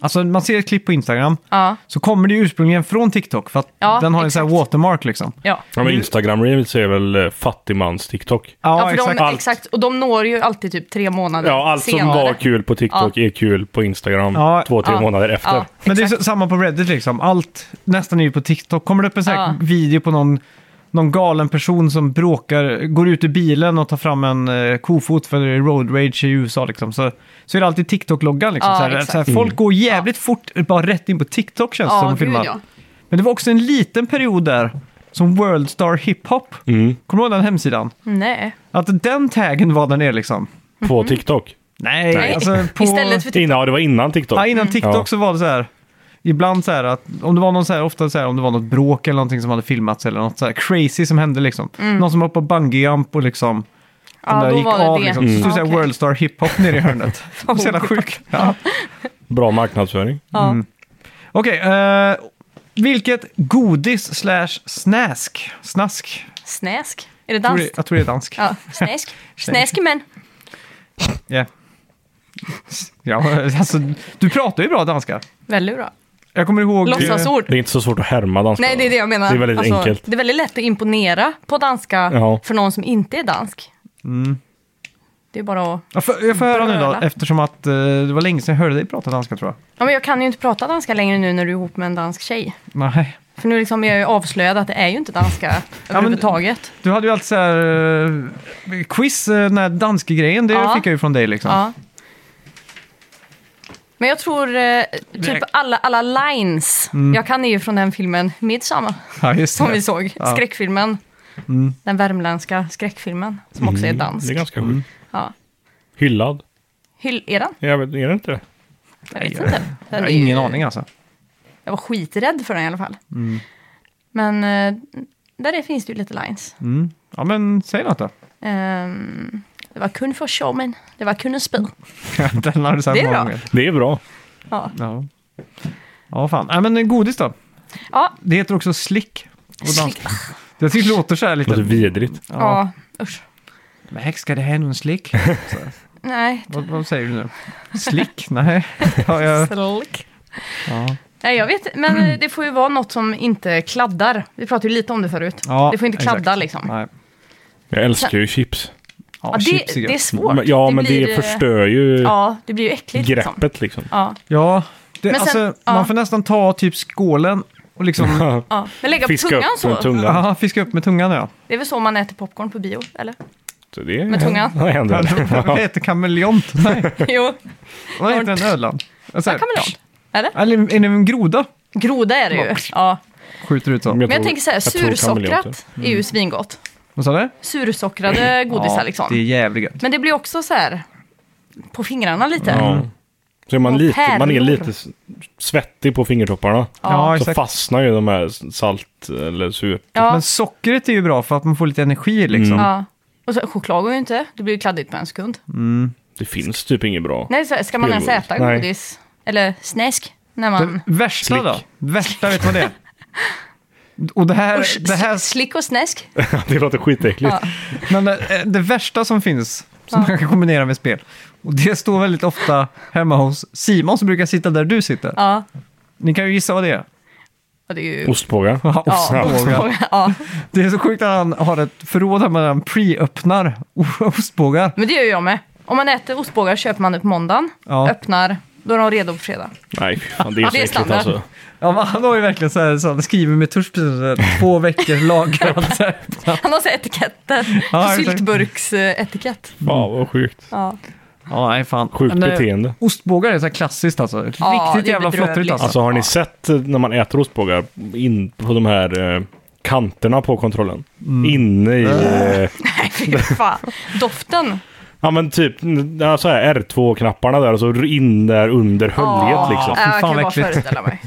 A: Alltså man ser ett klipp på Instagram,
C: Ja.
A: så kommer det ju ursprungligen från TikTok för att
C: Ja,
A: den har en sån här
C: exakt.
A: watermark liksom.
C: Ja.
B: Ja, men Instagram Reels är väl eh, fattigmans TikTok.
C: Ja, för
A: exakt.
C: de, exakt. Och de når ju alltid typ tre månader
B: Ja, allt som
C: senare.
B: var kul på Tiktok är kul på Instagram
A: Ja.
B: två, tre
C: Ja.
B: månader efter.
C: Ja.
A: Men det är så- samma på Reddit liksom. Allt nästan är ju på TikTok. Kommer det upp en sån här
C: Ja.
A: video på någon, någon galen person som bråkar, går ut ur bilen och tar fram en eh, kofot för det är road rage i USA liksom. Så, så är det alltid TikTok-loggan liksom.
C: Ja,
A: så här,
C: exakt.
A: så här, folk går jävligt fort bara rätt in på TikTok känns det som.
C: Ja,
A: och
C: gud
A: filmar.
C: ja.
A: Men det var också en liten period där som Worldstar Hiphop. Kommer du ihåg den hemsidan?
C: Nej.
A: Att den taggen var där nere liksom.
C: Mm.
B: På TikTok.
A: Nej,
B: Nej.
A: alltså på...
C: Istället för typ-
B: Innan, ja, det var innan TikTok.
A: Ja, innan TikTok
B: Ja.
A: så var det så här. Ibland så här att om det var någon så här, ofta så här om det var något bråk eller någonting som hade filmats eller något så här crazy som hände liksom. Någon som hoppade bungyjump och liksom den
C: Mm. Ja,
A: där
C: då
A: gick
C: var det
A: av
C: det.
A: liksom. Så stod det så här
C: Okej. Oh,
A: Worldstar hiphop nere i
C: <laughs>
A: hörnet. Så jävla sjuk. Ja.
B: Bra marknadsföring.
C: Ja.
A: Mm. Okej, eh, vilket godis slash snask, snask,
C: Snäsk. Är det
A: jag tror det,
C: danskt?
A: jag tror det är dansk.
C: Ja,
A: <laughs>
C: snäsk. Snäsk men.
A: Ja. Ja, <laughs> alltså, du pratar ju bra danska.
C: Väldigt bra.
A: Jag kommer ihåg...
B: Det
C: Låtsasord.
B: är inte så svårt att härma danska.
C: Nej, det är det jag menar.
B: Det är väldigt
C: Alltså,
B: enkelt.
C: Det är väldigt lätt att imponera på danska
B: Ja.
C: för någon som inte är dansk.
A: Mm.
C: Det är bara att...
A: Jag får, jag får höra nu då,
C: Bröla.
A: eftersom att eh, det var länge sedan jag hörde dig prata danska tror jag.
C: Ja, men jag kan ju inte prata danska längre nu när du är ihop med en dansk tjej.
A: Nej.
C: För nu liksom är jag ju avslöjad att det är ju inte danska
A: men-
C: överhuvudtaget.
A: Du hade ju alltid så här eh, quiz, eh, den här danske grejen, det
C: Ja.
A: fick jag ju från dig liksom.
C: Ja. Men jag tror eh, typ alla, alla lines jag kan är ju från den filmen Midsommar
A: Mm. Ja, just
C: som vi
A: det.
C: såg.
A: Ja. Mm.
C: Skräckfilmen. Den värmländska skräckfilmen som också är dansk.
B: Det är ganska
A: Mm.
B: sjukt.
C: Ja.
B: Hyllad.
C: Hyll, är den?
B: Jag vet, är det inte det?
C: Jag vet inte.
A: Jag
C: Den
A: har
C: är ju-
A: ingen aning Mm. alltså.
C: Jag var skiträdd för den i alla fall. Men eh, där är- finns det ju lite lines.
A: Mm. Ja men säg något då. <laughs>
C: Ehm, det var kun för showmen, det var kun en spel.
A: den har du sagt
C: Det är
A: många
C: bra.
A: gånger.
B: Det är bra.
C: Ja.
A: Ja. ja fan, ja, men eh, godis då.
C: Ja,
A: Det heter också slick. på danska.
C: slick.
A: Jag tycker det låter så här
B: Det låter
A: lite.
B: vidrigt.
C: Ja, usch.
A: Men häxka, det här är nog en slick. Så,
C: Nej.
A: vad, vad säger du nu? Slick? Nej. Ja,
C: <laughs>
A: jag,
C: Slalk.
A: ja.
C: Nej, jag vet Men
B: Mm.
C: eh, det får ju vara något som inte kladdar. Vi pratade ju lite om det förut.
A: Ja,
C: det får inte kladda
A: exakt.
C: liksom.
A: Nej.
B: Jag älskar ju chips.
A: Ja,
C: Ja, det,
A: chips är
C: det är
A: gött.
C: svårt.
B: Men- Ja, men det
C: blir, eh,
B: förstör ju
C: Ja, det blir ju äckligt. Liksom.
B: greppet liksom.
C: Ja,
A: Ja, det,
C: Men sen-
A: alltså,
C: ja.
A: man får nästan ta typ skålen och
B: <laughs>
A: liksom
C: ja. Men lägga på
B: Fiska
C: tungan
B: upp
C: så.
B: med tungan.
A: ja, fiska upp med tungan. Ja.
C: Det är väl så man äter popcorn på bio, eller? <laughs>
B: Så det <laughs>
C: Med tungan.
B: Ja, händer.
A: <laughs> Vad heter
B: <laughs>
A: kameleont? Nej,
C: jo,
A: vad heter den ödlan? Så här-
C: kameleont. Eller?
A: Eller är det en groda?
C: Groda är det ju. Ja.
A: Skjuter ut så.
B: Men
C: Men jag tänker så här,
B: tror kameleonter.
C: sursockrat är ju svingott.
A: Vad sa du?
C: Sursockrade godisar liksom.
A: det är jävligt gött.
C: Men det blir också så här på fingrarna lite.
B: Ja. Så är man,
C: Och
B: lite, man är
C: pärlor.
B: lite s- svettig på fingertopparna.
A: Ja,
B: så
A: exakt.
B: fastnar ju de här salt eller sur.
C: Ja.
A: Men sockret är ju bra för att man får lite energi liksom.
C: Ja. Och så, choklad går ju inte, det blir ju kladdigt på en sekund.
B: Det finns typ
A: <laughs>
B: inget bra.
C: Nej, så, här, ska man ens
B: Spelgodis.
C: äta
B: Nej.
C: godis? Eller snäsk? När man...
A: Det värsta
B: Slick.
A: då? Värsta, vet du
C: <laughs>
A: vad det är? Och det här,
C: Usch,
A: det här
C: Slick
A: <laughs>
C: och snäsk?
B: det låter skitäckligt.
A: men det, det värsta som finns, som
C: Ja.
A: man kan kombinera med spel, och det står väldigt ofta hemma hos Simon som brukar sitta där du sitter.
C: Ja.
A: Ni kan ju gissa vad det är.
C: Och det är ju...
B: Ostbågar.
A: Ja,
C: Ja,
A: ostbågar.
C: ostbågar. Ja.
A: Det är så sjukt att han har ett förråd hemma där han pre-öppnar <laughs> ostbågar.
C: Men det gör ju jag med. Om man äter ostbågar köper man det på måndagen,
A: Ja.
C: öppnar, då är de redo på fredag.
B: Nej, fy fan, det är så
C: Det är
B: äckligt
C: standard.
A: Mm.
B: alltså.
A: Ja, men han har ju verkligen så här, så han skriver med tuschpinsen, så
B: <laughs>
A: här, två veckor lagrad. så här.
C: Han har så här etiketter,
A: Ja, exakt.
C: syltburksetikett.
B: Fan vad sjukt.
C: Ja.
A: Ja, nej fan.
B: Sjukt
A: Men, eh,
B: beteende.
A: Ostbågar är så här klassiskt alltså.
C: Ja, det
A: Riktigt
C: är
A: jävla
C: bedrövligt.
A: flottrigt alltså.
B: Alltså har ni sett eh, när man äter ostbågar in på de här eh, kanterna på kontrollen?
A: Mm.
B: Inne i... Eh,
C: Nej,
A: <laughs>
C: fy fan. Doften.
B: ja men typ ja, så här R2-knapparna där och så in där under höljet
C: Ja,
B: liksom.
A: fy fan,
C: Jag kan bara
A: vad äckligt.
C: föreställa mig.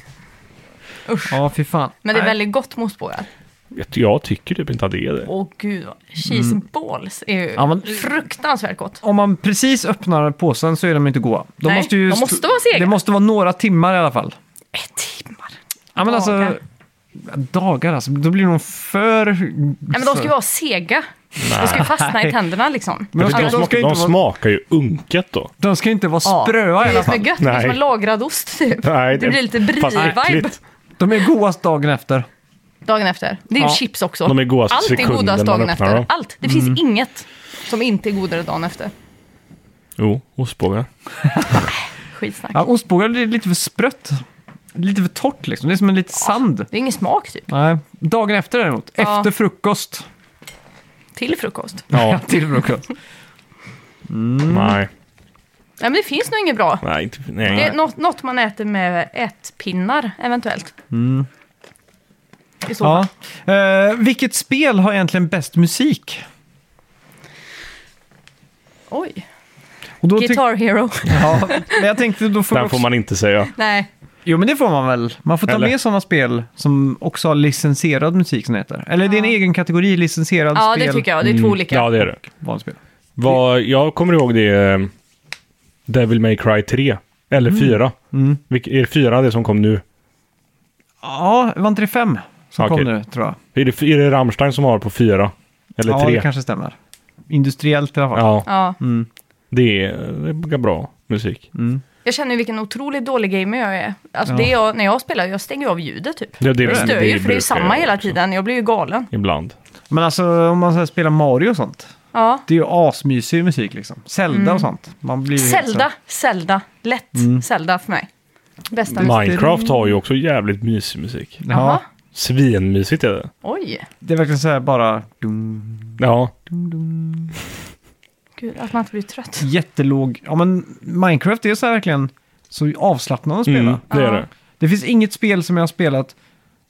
A: Ja, fy fan.
C: Men det är
A: Nej.
C: väldigt gott med ostbågar.
B: Jag- Jag tycker typ inte att det är det.
C: Åh gud, vad- cheese and balls är ju
A: Ja, men-
C: fruktansvärt gott.
A: Om man precis öppnar påsen så är de inte goda. De
C: Nej,
A: måste ju
C: de
A: st-
C: måste vara sega.
A: Det måste vara några timmar i alla fall.
C: Ett timmar.
A: Ja, men alltså...
C: Dagar.
A: Dagar alltså. Då blir de för...
C: Nej, men de ska ju vara sega. De ska ju fastna i tänderna liksom.
A: Men de ska,
B: de,
A: de,
B: smakar,
A: ska
B: de,
A: inte vara,
B: smakar ju unket då.
A: de ska inte vara
C: Ja,
A: spröa
C: Det
A: i
C: är
A: alla
C: det som
A: fall.
C: är gött, det är
B: Nej.
C: som en lagrad ost typ.
B: Nej,
C: det blir lite
B: fast
C: brie-vibe
B: äckligt.
A: De är godast dagen efter.
C: dagen efter. Det är
A: Ja.
C: ju chips också.
B: De är godast
C: Allt är
B: sekunden
C: godast
B: man
C: dagen
B: öppnar
C: efter.
B: dem. Mm.
C: Allt. Det finns inget som inte är godare dagen efter.
B: Jo, ostbågar.
C: Skitsnack.
A: Ja, ostbågar blir lite för sprött. Lite för torrt liksom. Det är som en liten sand.
C: Det är ingen smak typ.
A: Nej. Dagen efter däremot.
C: Ja.
A: Efter frukost.
C: Till frukost.
A: <laughs>
B: Ja,
A: Till
C: <laughs>
A: frukost. Mm.
B: nej.
C: Nej men det finns nog inget bra.
B: Nej, inte,
C: Det är
B: nej.
C: något, något man äter med ätpinnar eventuellt.
B: Mm.
C: I så fall.
A: Ja. Eh, vilket spel har egentligen bäst musik?
C: Oj.
A: Och då tyck-
C: Guitar Hero.
A: <laughs>
C: <laughs>
A: Ja, men jag tänkte då får, vi
B: Den får
A: också...
B: man inte säga.
C: Nej.
A: Jo, men det får man väl. Man får ta
B: Eller?
A: med sådana spel som också har licensierad musik som det heter. Eller det är en egen kategori, licensierad
C: Ja
A: spel.
C: det tycker jag. Det är två
B: Mm,
C: olika.
B: Ja, det är det.
A: Vanspel.
B: Vad, jag kommer ihåg det eh, Devil May Cry 3. Eller
A: Mm.
B: 4. Vilk, är det 4 det som kom nu?
A: Ja, var inte det fem som
B: Okej.
A: kom nu, tror jag?
B: Är det, är det Rammstein som har på 4? Eller
A: ja,
B: 3?
A: det kanske stämmer. Industriellt i alla fall.
B: Ja,
C: Ja.
B: det är, det är bra musik.
A: Mm.
C: Jag känner ju vilken otroligt dålig gamer jag är. Alltså det jag, när jag spelar, jag stänger av ljudet typ.
B: Det, det,
C: Det stör ju för det är
B: brukar
C: ju samma
B: jag
C: hela
B: också.
C: tiden. Jag blir ju galen.
B: Ibland.
A: Men alltså, om man så här spelar Mario och sånt.
B: Mm,
C: Ja.
A: Det är ju asmysig musik liksom. Zelda och sånt. Man blir ju helt så-
C: Mm. Zelda, Zelda, lätt
B: Mm.
C: Zelda för mig. Bästa musik.
B: Minecraft har ju också jävligt mysig musik.
A: Ja,
C: Jaha.
B: Svinmysigt är det.
C: Oj,
A: det är verkligen så här bara... Dum,
B: Ja,
C: gud att man inte blir trött.
A: jättelåg... Ja, men Minecraft är så här verkligen så avslappnande att spela.
B: mm, det är
C: Ja.
B: det.
A: Det finns inget spel som jag har spelat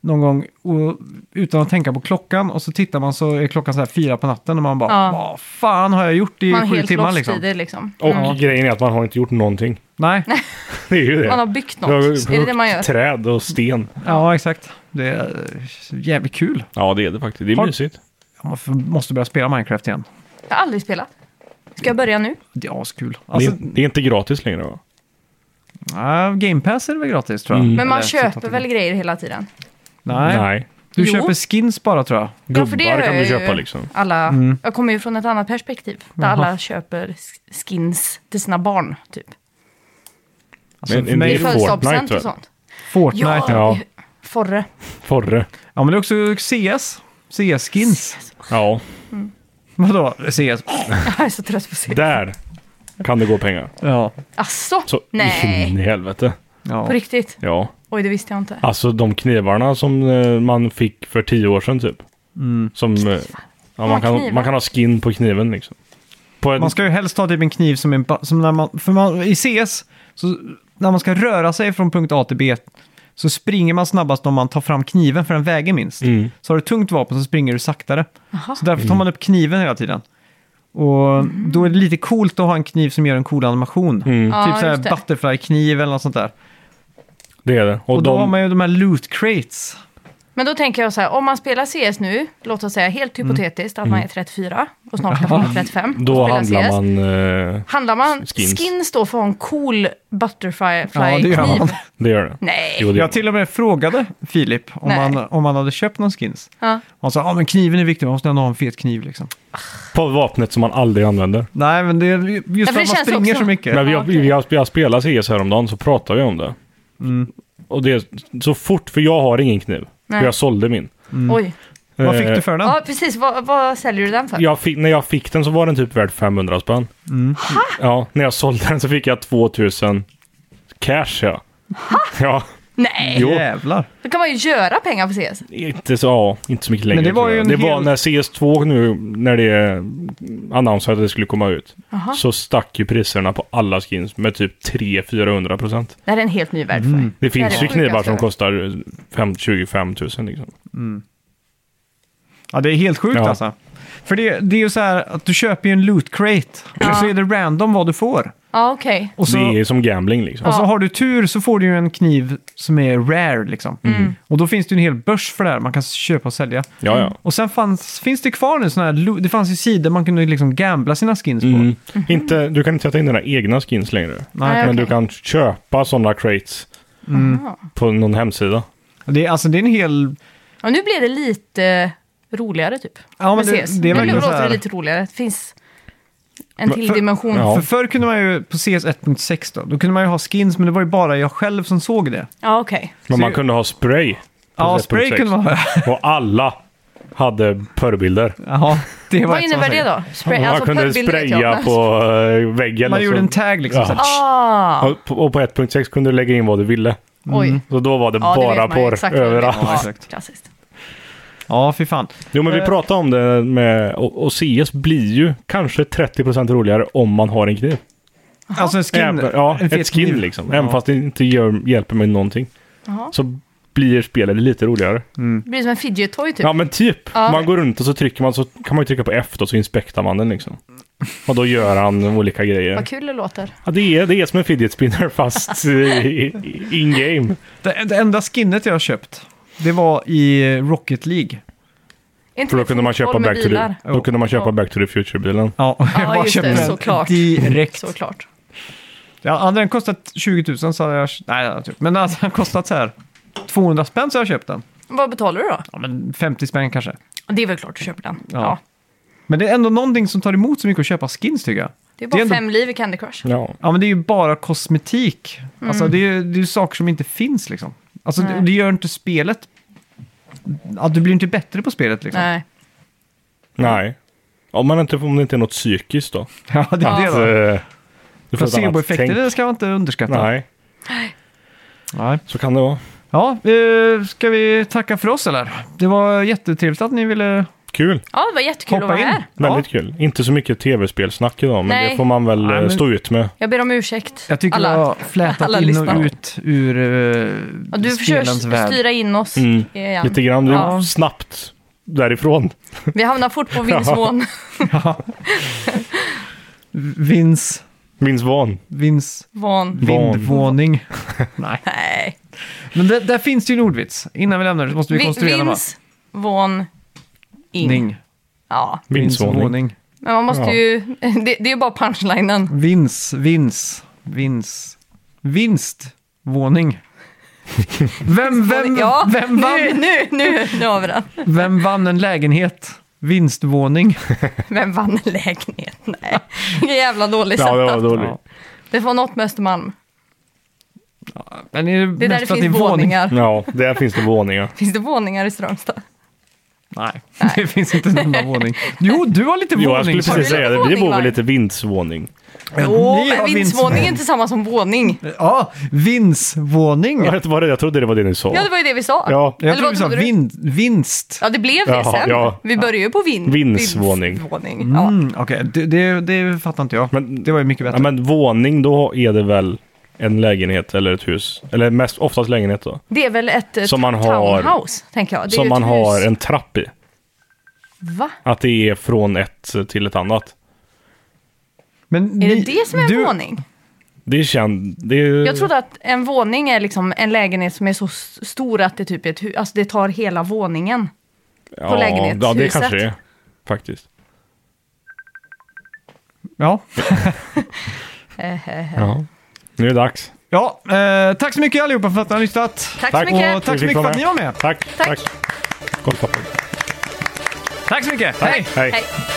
A: någon gång och, utan att tänka på klockan och så tittar man så är klockan så här fyra på natten och man bara
C: Ja.
A: vad fan har jag gjort i
C: Man är
A: sju
C: helt
A: timmar
C: lost
A: liksom?
C: i det liksom.
B: Och grejen är att man har inte gjort någonting. <laughs>
C: <laughs>
A: Nej,
B: Det är ju det.
C: Man har byggt
B: Jag har
C: något. Är det det
B: huggt
C: man gör?
B: Träd och sten.
A: ja exakt. Det är eh, jävligt kul.
B: Ja, det är det faktiskt. Det är
A: Har-
B: mysigt.
A: Jag måste- måste börja spela Minecraft igen.
C: Jag har aldrig spelat. Ska jag börja nu?
A: Det är askul.
B: Det är,
A: Alltså,
B: det är inte gratis längre va?
A: ja, Game Pass är väl gratis tror jag.
B: Mm.
C: Men man
A: Eller,
C: köper
A: så-
C: väl grejer hela tiden?
A: Nej.
B: Nej.
A: Du
C: Jo.
A: köper skins bara tror jag.
C: Ja, för
B: Gubbar
C: det
B: kan
C: gör
B: du
C: jag
B: köpa
C: ju.
B: liksom.
C: Alla, Jag kommer ju från ett annat perspektiv. Där alla köper sk- skins till sina barn, typ.
A: Alltså,
B: Men
A: för
B: en
A: mig
B: Det
C: I
B: del- är
A: är
C: födelsedagspresent
B: Fortnite,
C: och
B: va?
C: sånt.
A: Fortnite.
C: Ja,
A: Ja.
B: ja.
C: i- Forre. <laughs>
B: Forre.
A: ja, men det är också CS. CS-skins.
B: Ja,
A: Vadå? CS?
C: Jag är så trött på att se.
B: där kan det gå pengar.
A: Ja.
C: Asså?
B: Så in
C: Nej.
A: <laughs>
B: i helvete.
A: ja.
C: På riktigt?
B: Ja.
C: Oj, det visste jag inte.
B: Alltså de knivarna som eh, man fick för tio år sedan typ.
A: Mm.
B: Som, eh, ja,
C: Ja,
B: man,
C: knivar.
B: kan, man kan ha skin på kniven liksom. På en,
A: Man ska ju helst ha typ en kniv som, en, ba- som när man, för man, i CS, så när man ska röra sig från punkt A till B så springer man snabbast om man tar fram kniven för den väger minst.
B: Mm.
A: Så har du ett tungt vapen så springer du saktare.
C: Jaha.
A: Så därför tar man upp kniven hela tiden. Och då är det lite coolt att ha en kniv som gör en cool animation.
B: Mm.
C: Ja,
A: Typ så
C: just det.
A: här butterfly-kniv eller något sånt där.
B: Det är det. Och,
A: Och, då
B: de,
A: har man ju de här loot crates.
C: Men då tänker jag så här, om man spelar CS nu, låt oss säga helt
A: Mm.
C: hypotetiskt att man är 34 och snart kanske man är 35
B: då
C: och spelar
B: handlar
C: CS.
B: man... Eh,
C: Handlar man skins,
B: skins.
C: då för att ha en cool butterfly
A: Ja, det gör <laughs>
C: kniv?
A: man.
B: det gör det.
C: Nej.
B: Jo, det gör
A: Jag till och med frågade Filip om,
C: Nej.
A: han, om han hade köpt någon skins.
C: Ja.
A: Han sa, ja ah, men kniven är viktig, man måste ändå ha en fet kniv liksom.
B: det. På vapnet som man aldrig använder.
A: Nej, men det är ju- just
C: det
A: för att man
C: känns
A: springer
C: också-
A: så
B: <laughs>
A: mycket.
B: När vi,
C: Ja, okej.
B: vi, har- vi har spelat CS häromdagen så pratade vi om det.
A: Mm.
B: Och det så fort, för jag har ingen kniv.
C: Nej.
B: För jag sålde min.
A: Mm.
C: Oj.
A: Vad
B: Eh,
A: fick du för den?
C: Ja, precis. Vad, vad säljer du den för?
B: Jag fick, när jag fick den så var den typ värd 500 spänn.
A: Mm.
B: Ja, när jag sålde den så fick jag 2000 cash ja. Ja,
A: Eh.
C: Nej,
B: jo.
A: Jävlar.
C: då kan man ju göra pengar på CS.
B: Inte så, ja, inte så mycket längre.
A: Men det var
B: tror jag.
A: ju
B: det
A: en
B: var
A: hel-
B: när CS2 nu, när det annonserade att det skulle komma ut,
C: Aha.
B: så stack ju priserna på alla skins med typ 300-400 procent.
C: Det här är en helt ny värld för
A: Mm.
C: mig.
B: Det
C: det
B: finns
C: är
B: ju
C: sjukt,
B: knivar som
C: alltså.
B: kostar fem- 25 000 liksom.
A: Ja, det är helt sjukt
B: Ja.
A: alltså. För det, det är ju så här att du köper ju en loot crate. Och så är det random vad du får.
C: Ja, okej.
A: Och så,
B: det är ju som gambling liksom.
A: och så har du tur så får du ju en kniv som är rare liksom.
C: Mm.
A: Och då finns det ju en hel börs för det här. Man kan köpa och sälja.
B: Ja, ja.
A: Och sen fanns, finns det kvar nu sådana här, lo- det fanns ju sidor man kunde liksom gambla sina skins på.
B: Mm. Inte, du kan inte sätta in dina egna skins längre.
A: Nej,
B: Men
C: Mm-hmm. okej.
B: du kan köpa sådana crates
A: Mm.
C: Aha.
B: på någon hemsida.
A: Det är, alltså det är en hel...
C: Och nu blir det lite roligare typ.
A: Ja, men
C: med
A: det-
C: CS.
A: det är
C: nu
A: verkligen så
C: låter det
A: här-
C: lite roligare. Det finns en till
A: för-
C: dimension.
B: Ja.
A: För förr kunde man ju, på CS 1.6 då, då kunde man ju ha skins men det var ju bara jag själv som såg det.
C: Ja, okej.
B: Men
A: Så
B: man
A: ju-
B: kunde ha spray. på
A: Ja,
B: 1.6.
A: spray kunde man ha. <laughs>
B: Och alla hade porrbilder.
A: Ja, det var
C: Vad
A: ett
C: innebär
A: sånt
C: det
A: här.
C: då? Spray, alltså
B: man kunde
C: pubbilder vet jag,
B: spraya
C: men-
B: på eh, väggen.
A: Man
B: och
A: gjorde
B: så-
A: en tag liksom.
B: Ja.
A: Så här,
C: Ah,
B: Och på- Och på 1.6 kunde du lägga in vad du ville.
C: oj.
B: Så då var det
C: Ja, det
B: bara
C: vet man ju
B: porr
C: exakt vad det blir.
B: överallt. Mm.
A: Ja,
C: Ja,
A: Mm. exakt.
C: klassiskt.
A: Ja, fy fan.
B: Jo, men vi
A: Eh.
B: pratade om det med... Och, och CS blir ju kanske 30% roligare om man har en kniv.
A: Alltså en skin.
B: Även, ja,
A: en fet
B: ett skin
A: kniv.
B: liksom.
A: Ja.
B: Även fast det inte gör, hjälper mig någonting.
C: Jaha.
B: Så blir spelet lite roligare.
A: Mm.
C: Det blir som en fidget toy typ.
B: Ja men typ.
C: Ja.
B: Man går runt och så trycker man så kan man ju trycka på F då så inspektar man den liksom. Och då gör han olika grejer.
C: Vad kul det låter.
B: Ja, det, är, det är som en fidget spinner
A: <laughs>
B: fast eh, i- i- in-game.
A: Det, det enda skinnet jag har köpt, det var i Rocket League.
C: Är inte
B: För då
C: det
B: kunde man köpa
C: fotboll med
B: Back to the, <laughs>
C: bilar?
B: då kunde man
C: Ja.
B: köpa back to the Future-bilen.
A: Ja, <laughs> och jag
C: Ja,
A: bara
C: just det,
A: köpte den
C: såklart.
A: direkt.
C: Såklart.
A: Ja, hade den kostat 20 000 så hade jag... Nej, typ. Men hade den kostat så här 200 spänn så hade jag köpt den.
C: Vad betalar du då?
A: Ja, men 50 spänn kanske.
C: Det är väl klart du köper den. Ja.
A: Ja. Men det är ändå någonting som tar emot så mycket att köpa skins tycker jag.
C: Det är bara
A: Det är ändå- Mm,
C: fem liv i Candy Crush.
B: Ja.
A: Ja, men det är ju bara kosmetik. Alltså, det är ju det är ju saker som inte finns liksom. Alltså,
C: Mm. Nej.
A: det, det gör inte spelet... Ja, du blir inte bättre på spelet liksom.
C: Nej.
B: Nej. Om, man inte, om det inte är något psykiskt då.
A: Ja, det är det
B: Att,
A: då.
B: eh, du får ett annat
A: Placeboeffekter
B: tänk.
A: det ska man inte underskatta.
B: Nej,
A: Nej.
B: så kan det vara.
A: Ja, eh, ska vi tacka för oss eller? Det var jättetrevligt att ni ville...
B: Kul.
C: Ja, det var jättekul
A: Hoppa
C: att vara
A: in.
C: här.
B: Väldigt kul. Inte så mycket tv-spelsnack idag, men
C: Nej.
B: det får man väl
A: Nej,
B: eh,
A: men-
B: stå ut med.
C: Jag ber om ursäkt.
A: Jag tycker
C: alla.
A: vi har flätat
C: alla
A: in
C: lyssnare.
A: och ut ur eh,
C: Ja, du
A: spelens
C: försöker
A: värld.
C: styra in oss
B: Mm.
C: igen.
B: Lite grann det är
C: Ja.
B: snabbt därifrån.
C: Vi hamnar fort
A: <laughs>
C: på vindsvån.
A: Vins...
B: Minns van.
A: Vins...
C: Van.
A: <laughs>
B: Van. <laughs>
A: Vindvåning. Nej.
C: Nej.
A: Men där, där finns det ju en ordvits. Innan vi lämnar det så måste vi
C: Vi,
A: konstruera den va?
C: vins, vån, ing.
A: Ning.
C: Ja,
B: Vindsvåning.
A: Vinsvåning.
C: men man måste
B: Ja.
C: ju... <laughs> Det, det är ju bara punchlinen.
A: Vins. Vins. Vins. Vinstvåning. Vem, vem,
C: ja,
A: vem,
C: nu,
A: vann,
C: <laughs> nu, nu, nu har vi den.
A: vem vann en lägenhet? Vinstvåning.
C: Vem vann en lägenhet? <laughs> Nej, vilken jävla dålig
B: Ja, det var
C: setup.
B: dåligt.
A: Ja.
C: Det var något med Östermalm.
A: Men är det,
C: Det är där
A: mest
C: det
A: för att är en
C: finns
A: våning?
C: våningar. <laughs>
B: Ja, där finns det våningar.
C: Finns det våningar i Strömstad?
A: Nej, det finns inte en enda våning. Jo, du har lite
B: Jo, jag
A: våning.
B: skulle
A: sa du.
B: precis
C: Har du
B: säga det. Vi
C: våning,
B: bor väl
C: Mark?
B: lite vindsvåning.
C: Jo,
A: Ni
C: men
A: har
C: vindsvåning är inte samma som våning.
A: Ja, vindsvåning.
B: Jag, vet inte vad det, jag trodde det var det ni sa.
C: Ja, det var ju det vi sa.
B: Ja.
A: Jag
C: Eller
A: tror
C: vad
A: vi sa
C: trodde du?
A: vin, vinst.
C: Ja, det blev det
B: Jaha,
C: sen.
B: ja.
C: Vi började ju på vin-
B: Vindsvåning.
C: vindsvåning, Ja.
A: Mm, Okej, det, det, det fattar inte jag.
B: Men-
A: det var ju mycket
B: Ja,
A: bättre.
B: men våning, då är det väl en lägenhet eller ett hus. Eller mest, oftast lägenhet då.
C: Det är väl ett eh,
B: Som man har-
C: townhouse, tänker jag. Det är
B: Som
C: ju
B: man
C: ett
B: har
C: hus.
B: en trapp i.
C: Va?
B: Att det är från ett till ett annat.
A: Men
C: Är det
A: ni-
C: det som är en
A: du-
C: våning?
B: Det känns... Det är,
C: Jag trodde att en våning är liksom en lägenhet som är så s- stor att det typ är ett hus. Alltså det tar hela våningen.
B: ja, Ja, det
C: lägenhetshuset.
B: kanske det är. Faktiskt.
A: Ja,
B: Ja. Nu är det dags.
A: ja eh, tack så mycket allihopa för att ni har lyssnat.
C: Tack,
B: Tack.
C: så mycket.
A: Och tack
B: Vi
A: så
B: fick
A: mycket för att ni var
B: vara
A: med.
B: Tack.
C: Tack.
B: Tack. Kolla på.
A: Tack så mycket. Hej!
B: Hej.
C: Hej.